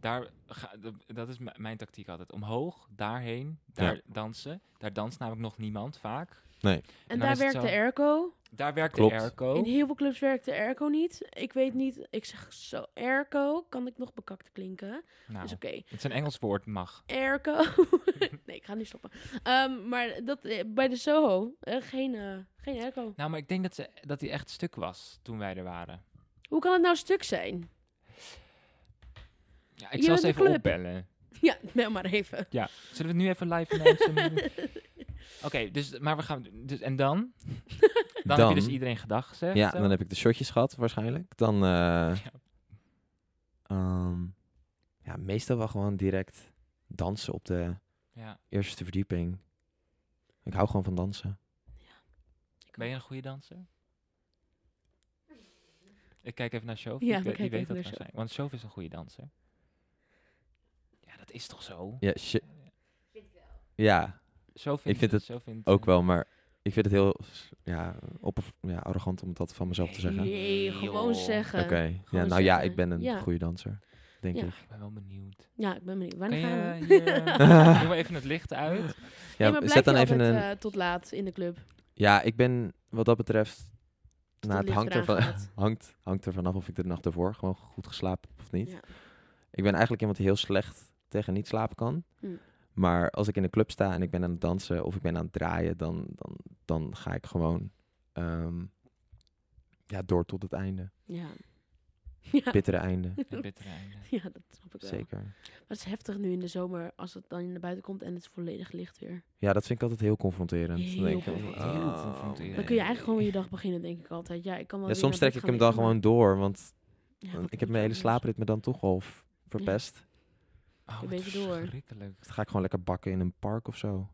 Speaker 1: Daar ga, d- dat is m- mijn tactiek altijd. Omhoog, daarheen, daar dansen. Daar danst namelijk nog niemand vaak.
Speaker 2: En
Speaker 1: dan
Speaker 2: daar
Speaker 1: is het
Speaker 2: werkt de
Speaker 1: zo-
Speaker 2: airco.
Speaker 1: Daar werkt
Speaker 4: Klopt.
Speaker 1: de airco.
Speaker 2: In heel veel clubs werkt de airco niet. Ik weet niet, ik zeg zo, airco, kan ik nog bekakt klinken?
Speaker 4: Ah.
Speaker 1: Nou,
Speaker 2: Is oké.
Speaker 1: het is een Engels woord, mag.
Speaker 2: Airco. [laughs] nee, ik ga nu stoppen. Ehm, maar dat, eh, bij de Soho, eh, geen, eh, geen airco.
Speaker 1: Nou, maar ik denk dat, ze, dat die echt stuk was toen wij er waren.
Speaker 2: Hoe kan het nou stuk zijn? [laughs]
Speaker 1: Ja,
Speaker 2: Je
Speaker 1: ik zal
Speaker 2: bent
Speaker 1: ze
Speaker 2: de
Speaker 1: even
Speaker 2: club.
Speaker 1: opbellen.
Speaker 2: Ja, bel maar even.
Speaker 1: Ja, zullen we het nu even
Speaker 2: [laughs]
Speaker 1: live announcen? Oké, dus, maar we gaan... Dus, en dan? Dan, heb
Speaker 4: Dan?
Speaker 1: je dus iedereen gedag gezegd. eh,
Speaker 4: Ja,
Speaker 1: zo.
Speaker 4: dan heb ik de shotjes gehad waarschijnlijk. Dan, eh, ehm, ja, meestal wel gewoon direct dansen op de
Speaker 1: Ja.
Speaker 4: eerste verdieping. Ik hou gewoon van dansen.
Speaker 1: Ben je een goede danser? Ik kijk even naar Shof.
Speaker 2: Ja,
Speaker 1: Ja, die,
Speaker 2: we kijken
Speaker 1: weet
Speaker 2: even
Speaker 1: dat
Speaker 2: naar
Speaker 1: waarschijnlijk. Want Shof is een goede danser. Ja, dat is toch zo?
Speaker 4: Ja, shi- Ja,
Speaker 1: Zo vind
Speaker 4: Ik vind het
Speaker 1: zo vindt,
Speaker 4: ook
Speaker 1: eh,
Speaker 4: wel, maar ik vind het heel s- ja, opperv- ja, arrogant om dat van mezelf te zeggen. Oké,
Speaker 2: [laughs] Nee, gewoon
Speaker 1: joh.
Speaker 2: zeggen.
Speaker 4: ja,
Speaker 2: gewoon
Speaker 4: nou ja,
Speaker 2: zeggen.
Speaker 4: ik ben een
Speaker 2: Ja.
Speaker 4: goede danser, denk
Speaker 2: Ja.
Speaker 4: ik.
Speaker 1: Ik ben wel benieuwd.
Speaker 2: Ja, ik ben benieuwd.
Speaker 1: Kan
Speaker 2: Wanneer gaan
Speaker 1: je
Speaker 2: we?
Speaker 1: hier...
Speaker 2: [laughs]
Speaker 1: eh, [laughs] Doe maar even het licht uit.
Speaker 4: Ja,
Speaker 2: nee, maar
Speaker 4: zet
Speaker 2: blijf
Speaker 4: dan
Speaker 2: je
Speaker 4: even
Speaker 2: altijd, eh,
Speaker 4: een.
Speaker 2: tot laat in de club.
Speaker 4: ja, ik ben wat dat betreft. Nou,
Speaker 2: het
Speaker 4: het
Speaker 2: licht
Speaker 4: hangt
Speaker 2: eraan
Speaker 4: ervan,
Speaker 2: gaat.
Speaker 4: [laughs] hangt, hangt ervan af of ik de nacht ervoor gewoon goed geslapen heb of niet.
Speaker 2: Ja.
Speaker 4: Ik ben eigenlijk iemand die heel slecht tegen niet slapen kan.
Speaker 2: Hm.
Speaker 4: Maar als ik in de club sta en ik ben aan het dansen of ik ben aan het draaien, dan, dan, dan ga ik gewoon ehm, ja, door tot het einde.
Speaker 2: Ja. [laughs] Ja.
Speaker 4: Bittere einde,
Speaker 1: Het bittere einde.
Speaker 2: [laughs] ja, dat snap ik wel.
Speaker 4: zeker.
Speaker 2: Maar het is heftig nu in de zomer als het dan naar buiten komt en het is volledig licht weer.
Speaker 4: Ja, dat vind ik altijd heel confronterend.
Speaker 2: Heel
Speaker 4: denk ik,
Speaker 2: confronterend.
Speaker 1: Heel
Speaker 4: oh,
Speaker 1: confronterend.
Speaker 2: Dan kun je eigenlijk gewoon weer je dag beginnen, denk ik altijd. Ja, ik kan wel
Speaker 4: Ja,
Speaker 2: weer
Speaker 4: soms
Speaker 2: naar
Speaker 4: trek
Speaker 2: bed
Speaker 4: ik
Speaker 2: gaan
Speaker 4: hem dan
Speaker 2: liggen, maar-
Speaker 4: gewoon door, want
Speaker 2: Ja,
Speaker 4: want
Speaker 2: wat doe
Speaker 4: ik heb
Speaker 2: je
Speaker 4: mijn hele
Speaker 2: anders?
Speaker 4: slaapritme dan toch al v- verpest. Dus
Speaker 1: Oh,
Speaker 2: Een
Speaker 1: wat
Speaker 2: beetje door.
Speaker 1: verschrikkelijk.
Speaker 4: Dan ga ik gewoon lekker bakken in een park of zo.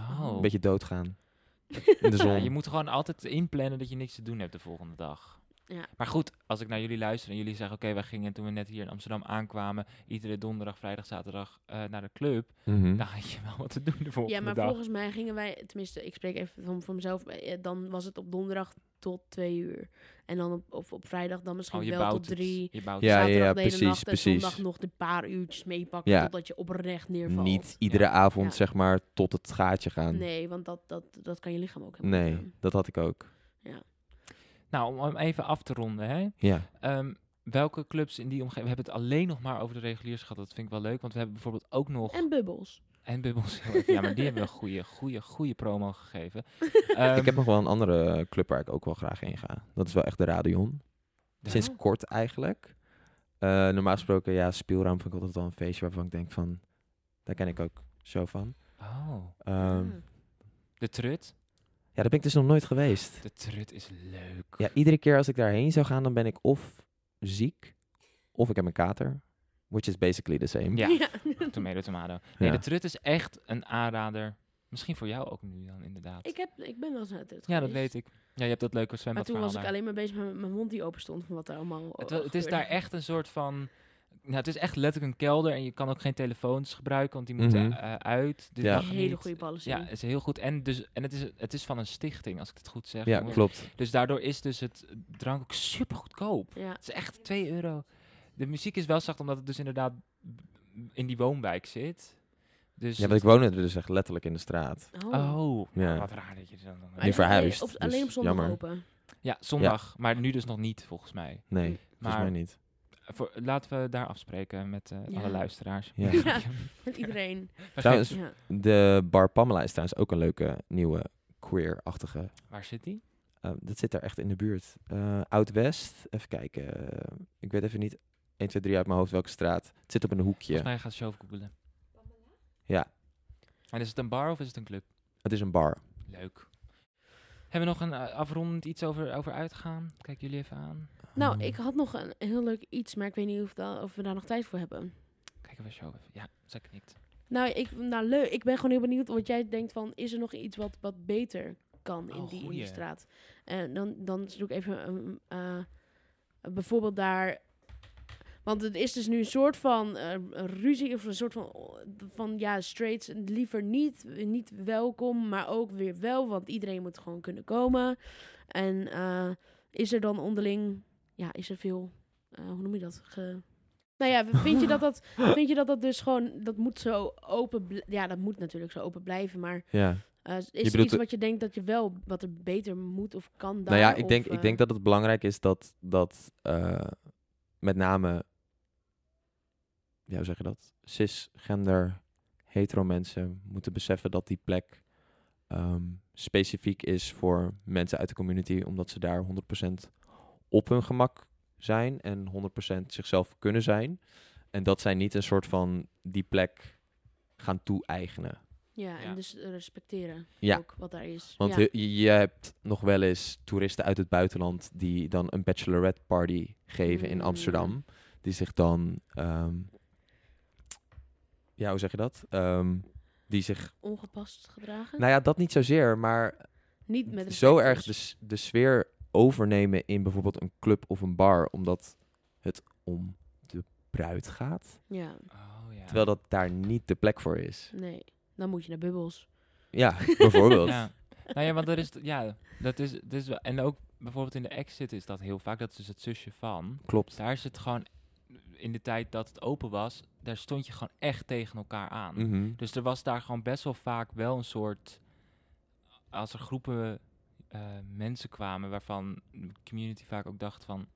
Speaker 1: Oh.
Speaker 4: Een beetje
Speaker 2: [laughs]
Speaker 4: doodgaan. In de
Speaker 1: Ja,
Speaker 4: zon.
Speaker 1: je moet gewoon altijd inplannen dat je niks te doen hebt de volgende dag.
Speaker 2: Ja.
Speaker 1: Maar goed, als ik naar jullie luister en jullie zeggen... oké, wij gingen toen we net hier in Amsterdam aankwamen... iedere donderdag, vrijdag, zaterdag eh, naar de club...
Speaker 4: Mhm.
Speaker 1: dan had je wel wat te doen de volgende
Speaker 2: Ja, maar
Speaker 1: dag.
Speaker 2: volgens mij gingen wij, tenminste, ik spreek even van, voor mezelf, eh, dan was het op donderdag tot twee uur. En dan op, op, op vrijdag dan misschien
Speaker 1: oh, je
Speaker 2: wel
Speaker 1: bouwt
Speaker 2: tot
Speaker 1: het.
Speaker 2: drie.
Speaker 1: Je bouwt
Speaker 4: Ja,
Speaker 1: het.
Speaker 4: ja,
Speaker 2: Zaterdag de hele
Speaker 4: precies,
Speaker 2: nacht
Speaker 4: precies.
Speaker 2: En zondag nog een paar uurtjes meepakken
Speaker 4: Ja.
Speaker 2: totdat je oprecht neervalt.
Speaker 4: Niet iedere avond,
Speaker 2: Ja.
Speaker 4: zeg maar, tot het gaatje gaan.
Speaker 2: Nee, want dat, dat, dat kan je lichaam ook helemaal niet
Speaker 4: Nee,
Speaker 2: aan.
Speaker 4: dat had ik ook.
Speaker 1: Nou, om hem even af te ronden, hè.
Speaker 4: Ja.
Speaker 1: Ehm, welke clubs in die omgeving... We hebben het alleen nog maar over de reguliers gehad. Dat vind ik wel leuk, want we hebben bijvoorbeeld ook nog...
Speaker 2: En bubbels.
Speaker 1: En Bubbels. [laughs] heel even- Ja, maar die hebben we een goede, goede, goede promo
Speaker 2: [laughs]
Speaker 1: gegeven. Ehm,
Speaker 4: ik heb nog wel een andere eh, club waar ik ook wel graag heen ga. Dat is wel echt de Radion.
Speaker 1: Ja.
Speaker 4: Sinds kort eigenlijk. Eh, normaal gesproken, ja, speelruim vind ik altijd wel een feestje waarvan ik denk van... Daar ken ik ook zo van.
Speaker 1: Oh.
Speaker 4: Ehm,
Speaker 2: Ja.
Speaker 1: De Trut.
Speaker 4: ja, daar ben ik dus nog nooit geweest.
Speaker 1: De Trut is leuk.
Speaker 4: Ja, iedere keer als ik daarheen zou gaan, dan ben ik of ziek, of ik heb een kater. Which is basically the
Speaker 2: [laughs]
Speaker 4: same.
Speaker 1: Ja.
Speaker 2: Ja.
Speaker 1: Tomato, tomato. Nee,
Speaker 4: Ja.
Speaker 1: de Trut is echt een aanrader. Misschien voor jou ook nu dan, inderdaad.
Speaker 2: Ik, heb, ik ben wel eens naar het
Speaker 1: ja, dat weet ik. Ja, je hebt dat leuke
Speaker 2: Maar toen
Speaker 1: zwembadverhaal
Speaker 2: was ik
Speaker 1: daar.
Speaker 2: alleen maar bezig met mijn mond die open stond van wat er allemaal
Speaker 1: Het,
Speaker 2: eh,
Speaker 1: wa- het is daar
Speaker 2: gebeurde.
Speaker 1: echt een soort van... Nou, het is echt letterlijk een kelder en je kan ook geen telefoons gebruiken, want die moeten
Speaker 4: Mhm.
Speaker 1: eh, uit. Dus
Speaker 4: Ja.
Speaker 1: dat
Speaker 2: Een
Speaker 1: niet.
Speaker 2: hele goede policy.
Speaker 1: Ja, is heel goed. En, dus, en het, is, het is van een stichting, als ik het goed zeg.
Speaker 4: Ja,
Speaker 1: jongens.
Speaker 4: klopt.
Speaker 1: Dus daardoor is dus het drank ook super goedkoop.
Speaker 2: Ja.
Speaker 1: Het is echt 2 euro. De muziek is wel zacht, omdat het dus inderdaad b- in die woonwijk zit. Dus
Speaker 4: Ja, want ik woonde dus echt letterlijk in de straat.
Speaker 1: Oh,
Speaker 4: Ja.
Speaker 1: wat raar dat je er dan... dan-
Speaker 2: Maar is alleen-
Speaker 4: verhuisd,
Speaker 2: op-
Speaker 4: dus
Speaker 2: alleen op zondag
Speaker 4: jammer.
Speaker 2: open. [laughs]
Speaker 1: Ja, zondag. Maar nu dus nog niet, volgens mij.
Speaker 4: Nee,
Speaker 2: Maar-
Speaker 4: volgens mij niet.
Speaker 1: Voor, laten we daar afspreken met eh,
Speaker 2: Ja.
Speaker 1: alle luisteraars. [laughs]
Speaker 4: Ja.
Speaker 2: Ja. Met
Speaker 4: [laughs]
Speaker 2: iedereen.
Speaker 1: We
Speaker 4: Trouwens-
Speaker 1: geven-
Speaker 2: Ja.
Speaker 4: De bar Pamela is trouwens ook een leuke nieuwe queer-achtige.
Speaker 1: Waar zit die?
Speaker 4: eh, dat zit daar echt in de buurt. Eh, Oud-West, even kijken. eh, ik weet even niet 1, 2, 3 uit mijn hoofd welke straat. Het zit op een hoekje.
Speaker 1: Volgens mij gaat Sjoof googelen.
Speaker 4: Ja.
Speaker 1: En is het een bar of is het een club?
Speaker 4: Het is een bar.
Speaker 1: Leuk. Hebben we nog een eh, afrondend iets over, over uitgaan? Kijk jullie even aan.
Speaker 4: Mm.
Speaker 2: Nou, ik had nog een heel leuk iets, maar ik weet niet of, da- of we daar nog tijd voor hebben.
Speaker 1: Kijken we Sjoof even. Ja, zij knikt.
Speaker 2: Nou, ik, nou leuk. Ik ben gewoon heel benieuwd wat jij denkt van... is er nog iets wat, wat beter kan in,
Speaker 1: Oh,
Speaker 2: die, in die
Speaker 1: goeie.
Speaker 2: straat? En dan, dan zoek ik even... een, eh, bijvoorbeeld daar... Want het is dus nu een soort van eh, een ruzie... of een soort van, van ja, straights liever niet, niet welkom... maar ook weer wel, want iedereen moet gewoon kunnen komen. En eh, is er dan onderling... Ja, is er veel... eh, hoe noem je dat? Ge...
Speaker 1: [laughs]
Speaker 2: Nou ja, vind je dat dat Vind je dat dat dus gewoon, dat moet zo open, bl- ja, dat moet natuurlijk zo open blijven, maar
Speaker 4: Ja.
Speaker 2: eh, is er
Speaker 4: bedoelt
Speaker 2: iets
Speaker 4: de-
Speaker 2: wat je denkt dat je wel, wat er beter moet of kan daar?
Speaker 4: nou ja, ik denk,
Speaker 2: of, eh,
Speaker 4: ik denk dat het belangrijk is dat, dat eh, met name, ja, hoe zeg je dat? Cisgender, hetero mensen moeten beseffen dat die plek ehm, specifiek is voor mensen uit de community, omdat ze daar 100% op hun gemak zijn en 100% zichzelf kunnen zijn. En dat zij niet een soort van die plek gaan toe-eigenen.
Speaker 2: eh, Ja, en
Speaker 1: Ja.
Speaker 2: dus respecteren
Speaker 4: Ja.
Speaker 2: ook wat daar is.
Speaker 4: Want
Speaker 2: ja.
Speaker 4: je- je, je hebt nog wel eens toeristen uit het buitenland die dan een bachelorette party geven in
Speaker 2: Mm.
Speaker 4: Amsterdam. Die zich dan, ehm, ja, hoe zeg je dat? Ehm, die zich,
Speaker 2: ongepast gedragen.
Speaker 4: nou ja, dat niet zozeer, maar
Speaker 2: Niet met
Speaker 4: zo
Speaker 2: respect
Speaker 4: erg
Speaker 2: dus.
Speaker 4: de, s- de sfeer overnemen in bijvoorbeeld een club of een bar, omdat het om de bruid gaat.
Speaker 2: Ja,
Speaker 4: dus-
Speaker 1: Oh ja.
Speaker 4: Terwijl dat daar niet de plek voor is.
Speaker 2: nee. Dan moet je naar bubbels.
Speaker 4: Ja, bijvoorbeeld.
Speaker 1: [laughs] Ja. Nou ja, want er is, t- ja, dat is, dat is wel, en ook bijvoorbeeld in de exit is dat heel vaak, dat is dus het zusje van.
Speaker 4: Klopt.
Speaker 1: Daar is het gewoon, in de tijd dat het open was, daar stond je gewoon echt tegen elkaar aan.
Speaker 4: Mhm.
Speaker 1: Dus er was daar gewoon best wel vaak wel een soort, als er groepen eh, mensen kwamen, waarvan de community vaak ook dacht van,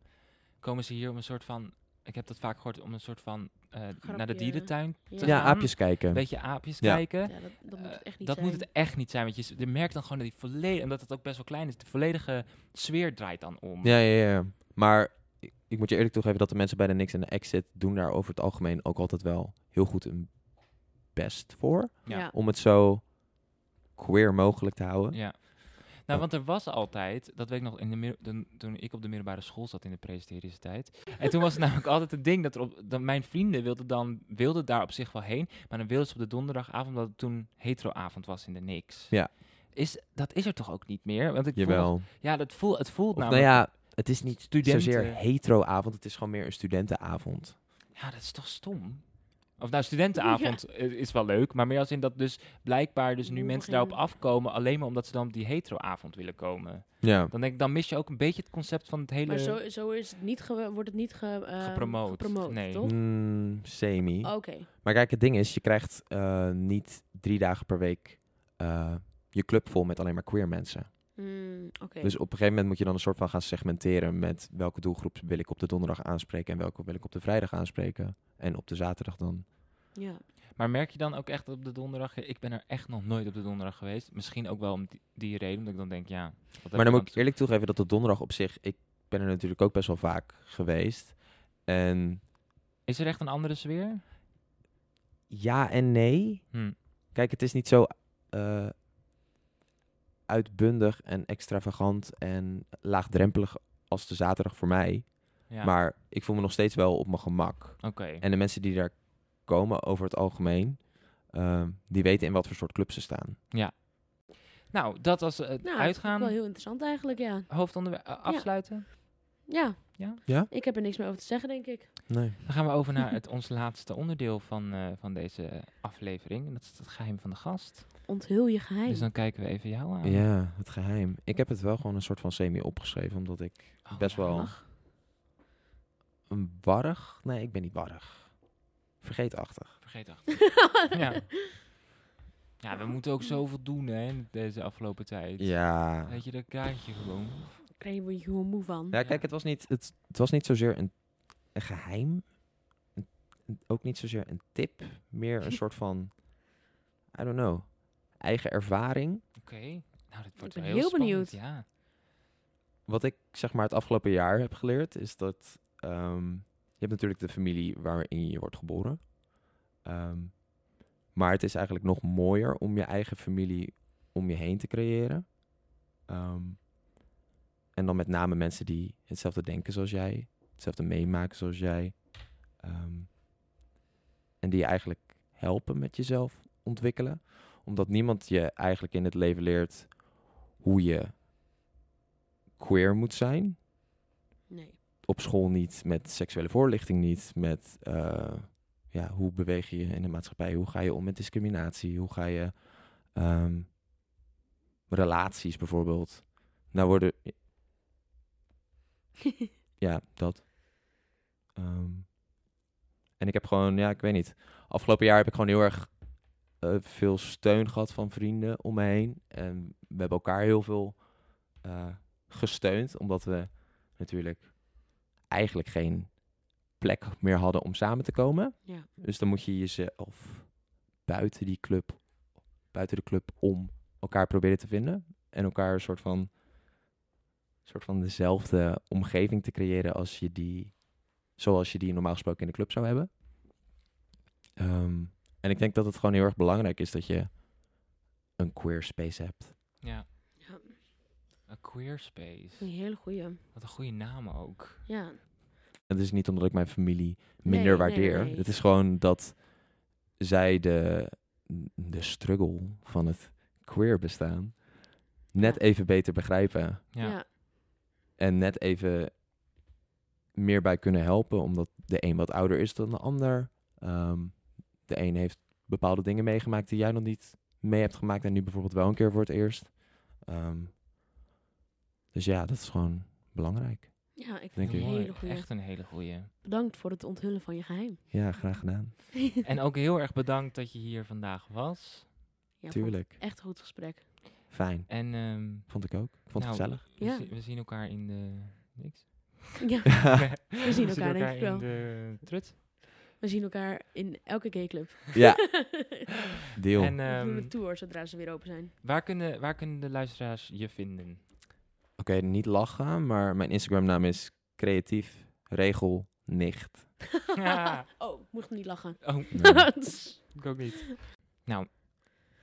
Speaker 1: komen ze hier om een soort van, ik heb dat vaak gehoord, om een soort van eh, naar de
Speaker 2: Grapje.
Speaker 1: dierentuin te
Speaker 2: Ja.
Speaker 1: gaan.
Speaker 4: Ja, ah. aapjes kijken.
Speaker 1: Een beetje aapjes
Speaker 4: Ja.
Speaker 1: kijken.
Speaker 2: Ja, dat, dat moet het
Speaker 1: Eh,
Speaker 2: echt niet
Speaker 1: dat
Speaker 2: zijn.
Speaker 1: moet het echt niet zijn. Want je, s- je merkt dan gewoon dat die volledige, omdat het ook best wel klein is, de volledige sfeer draait dan om.
Speaker 4: Ja, ja, ja. Maar ik, ik moet je eerlijk toegeven dat de mensen bij de Nix en de Exit doen daar over het algemeen ook altijd wel heel goed hun best voor.
Speaker 1: Ja.
Speaker 4: Om het zo queer mogelijk te houden.
Speaker 1: Ja. Nou, want er was altijd, dat weet ik nog, in de mid- toen- toen ik op de middelbare school zat in de prehistorische tijd. En toen was het [laughs] namelijk altijd het ding dat, er op, dat mijn vrienden wilden, dan, wilden daar op zich wel heen. Maar dan wilden ze op de donderdagavond, omdat het toen heteroavond was in de niks.
Speaker 4: Ja.
Speaker 1: Is, dat is er toch ook niet meer? Want ik voel-
Speaker 4: Jawel. Of,
Speaker 1: ja, dat voel, het voelt
Speaker 4: nou
Speaker 1: namelijk...
Speaker 4: ja, het is niet
Speaker 1: Studenten.
Speaker 4: zozeer hetero-avond, het is gewoon meer een studentenavond.
Speaker 1: Ja, dat is toch stom? Of nou, studentenavond eh, is wel leuk, maar meer als in dat dus blijkbaar dus nu
Speaker 2: Hoeveel
Speaker 1: mensen
Speaker 2: gingen
Speaker 1: daarop afkomen alleen maar omdat ze dan op die heteroavond willen komen.
Speaker 4: Ja.
Speaker 1: Dan denk ik, dan mis je ook een beetje het concept van het hele...
Speaker 2: Maar zo, zo is het niet ge- wordt het niet ge, eh,
Speaker 1: Gepromoot.
Speaker 2: gepromoot,
Speaker 1: Nee.
Speaker 2: toch?
Speaker 4: Mm, semi.
Speaker 1: Oh.
Speaker 2: Oké.
Speaker 4: Maar kijk, het ding is, je krijgt eh, niet drie dagen per week eh, je club vol met alleen maar queer mensen.
Speaker 2: Mm, oké.
Speaker 4: Dus op een gegeven moment moet je dan een soort van gaan segmenteren met welke doelgroep wil ik op de donderdag aanspreken en welke wil ik op de vrijdag aanspreken. En op de zaterdag dan.
Speaker 2: ja. Nou,
Speaker 1: Maar merk je dan ook echt op de donderdag? Ik ben er echt nog nooit op de donderdag geweest. Misschien ook wel om die, die reden, omdat ik dan denk, ja... wat heb
Speaker 4: maar dan
Speaker 1: ik
Speaker 4: moet ik
Speaker 1: aan
Speaker 4: eerlijk toegeven dat de donderdag op zich, ik ben er natuurlijk ook best wel vaak geweest. En
Speaker 1: toe- Is er echt een andere sfeer?
Speaker 4: ja en nee.
Speaker 1: Hm.
Speaker 4: Kijk, het is niet zo eh, uitbundig en extravagant en laagdrempelig als de zaterdag voor mij.
Speaker 1: Ja,
Speaker 4: Maar ik voel me nog steeds wel op mijn gemak.
Speaker 1: oké.
Speaker 4: En de mensen die daar komen over het algemeen, ehm, die weten in wat voor soort club ze staan.
Speaker 1: Nou, dat was het
Speaker 2: Nou,
Speaker 1: uitgaan.
Speaker 2: Dat is wel heel interessant eigenlijk, ja.
Speaker 1: Hoofdonderwerp eh, afsluiten.
Speaker 2: Ja.
Speaker 1: Ja?
Speaker 4: Ja?
Speaker 2: Ik heb er niks meer over te zeggen, denk ik.
Speaker 4: Nee.
Speaker 1: Dan gaan we over
Speaker 2: [laughs]
Speaker 1: naar het, ons laatste onderdeel van, eh, van deze aflevering. En dat is het geheim van de gast.
Speaker 2: Onthul je geheim. [laughs]
Speaker 1: Dus dan kijken we even jou aan.
Speaker 4: Ja, het geheim. Ik heb het wel gewoon een soort van semi opgeschreven, omdat ik
Speaker 1: Oh,
Speaker 4: best
Speaker 1: ja.
Speaker 4: wel een warrig... Nee, ik ben niet warrig. Vergeetachtig.
Speaker 1: Vergeet achter. ja. ja, we moeten ook zoveel doen hè, in deze afgelopen tijd.
Speaker 4: Ja.
Speaker 1: Weet je, dat krijg je gewoon.
Speaker 2: Daar krijg je gewoon moe van.
Speaker 4: Ja, kijk, het was niet, het, het was niet zozeer een, een geheim. Een- een- ook niet zozeer een tip. Meer [laughs] een soort van, I don't know, eigen ervaring.
Speaker 1: Oké. Nou, dit wordt wel
Speaker 2: Ik ben heel
Speaker 1: spannend,
Speaker 2: benieuwd.
Speaker 1: Ja.
Speaker 4: wat ik zeg maar het afgelopen jaar heb geleerd, is dat ehm, je hebt natuurlijk de familie waarin je wordt geboren. Ehm, maar het is eigenlijk nog mooier om je eigen familie om je heen te creëren. Ehm, en dan met name mensen die hetzelfde denken zoals jij, hetzelfde meemaken zoals jij. Ehm, en die je eigenlijk helpen met jezelf ontwikkelen. Omdat niemand je eigenlijk in het leven leert hoe je queer moet zijn.
Speaker 2: Nee. [laughs]
Speaker 4: Op school niet, met seksuele voorlichting niet, met eh, ja, hoe beweeg je je in de maatschappij, hoe ga je om met discriminatie, hoe ga je ehm, relaties bijvoorbeeld. Nou worden, ja, dat. Ehm, en ik heb gewoon, ja, ik weet niet. Afgelopen jaar heb ik gewoon heel erg eh, veel steun gehad van vrienden om me heen. En we hebben elkaar heel veel eh, gesteund, omdat we natuurlijk eigenlijk geen plek meer hadden om samen te komen.
Speaker 2: Ja.
Speaker 4: Dus dan moet je jezelf buiten die club, buiten de club om elkaar proberen te vinden. En elkaar een soort van, soort van dezelfde omgeving te creëren als je die, zoals je die normaal gesproken in de club zou hebben. Ehm, en ik denk dat het gewoon heel erg belangrijk is dat je een queer space hebt.
Speaker 1: ja.
Speaker 2: Ja.
Speaker 1: Een queer space.
Speaker 2: Een hele goeie.
Speaker 1: Wat een goede naam ook.
Speaker 2: Ja.
Speaker 4: Het is niet omdat ik mijn familie minder
Speaker 2: Nee,
Speaker 4: waardeer.
Speaker 2: nee, nee.
Speaker 4: Het is gewoon dat zij de, de struggle van het queer bestaan net
Speaker 2: Ja.
Speaker 4: even beter begrijpen.
Speaker 1: Ja.
Speaker 2: ja.
Speaker 4: En net even meer bij kunnen helpen. Omdat de een wat ouder is dan de ander. Ehm, de een heeft bepaalde dingen meegemaakt die jij nog niet mee hebt gemaakt en nu bijvoorbeeld wel een keer voor het eerst. Ehm, dus ja, dat is gewoon belangrijk.
Speaker 2: Ja, ik
Speaker 4: Denk
Speaker 2: vind het een
Speaker 4: ik.
Speaker 2: hele goede.
Speaker 1: Echt een hele goeie.
Speaker 2: Bedankt voor het onthullen van je geheim. [laughs]
Speaker 4: Ja, graag gedaan.
Speaker 1: En ook heel erg bedankt dat je hier vandaag was.
Speaker 2: Ja,
Speaker 4: Tuurlijk.
Speaker 2: vond- Echt een goed [laughs] gesprek.
Speaker 4: Fijn.
Speaker 1: En ehm,
Speaker 4: Vond ik ook. Ik vond
Speaker 1: nou,
Speaker 4: het gezellig.
Speaker 1: [laughs] We,
Speaker 2: Ja.
Speaker 1: zi- we zien elkaar in de... Niks.
Speaker 2: Ja,
Speaker 1: we
Speaker 2: elkaar, denk ik wel.
Speaker 1: in de trut.
Speaker 2: we zien elkaar in elke gayclub.
Speaker 4: Ja,
Speaker 2: [laughs] we
Speaker 4: deal.
Speaker 1: En
Speaker 2: doen
Speaker 1: ehm,
Speaker 2: een tour zodra ze weer open zijn.
Speaker 1: waar, kunnen, waar kunnen de luisteraars je vinden?
Speaker 4: Oké, niet lachen, maar mijn Instagram naam is creatief regel nicht.
Speaker 1: Ja.
Speaker 2: [laughs] oh, mocht niet lachen.
Speaker 1: [laughs] Oh,
Speaker 4: Nee.
Speaker 1: ik ook niet. Nou,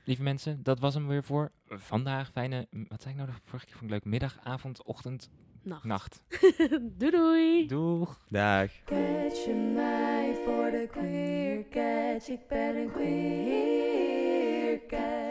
Speaker 1: lieve mensen, dat was hem weer voor vandaag. Fijne, m, wat zei ik nou de vorige keer? Vond ik leuk. Middag, avond, ochtend,
Speaker 2: [laughs] Nacht.
Speaker 1: nacht.
Speaker 2: [laughs] doei doei.
Speaker 1: Doeg!
Speaker 4: Dag.
Speaker 3: Catch mij voor de queer catch. Ik ben een queer catch.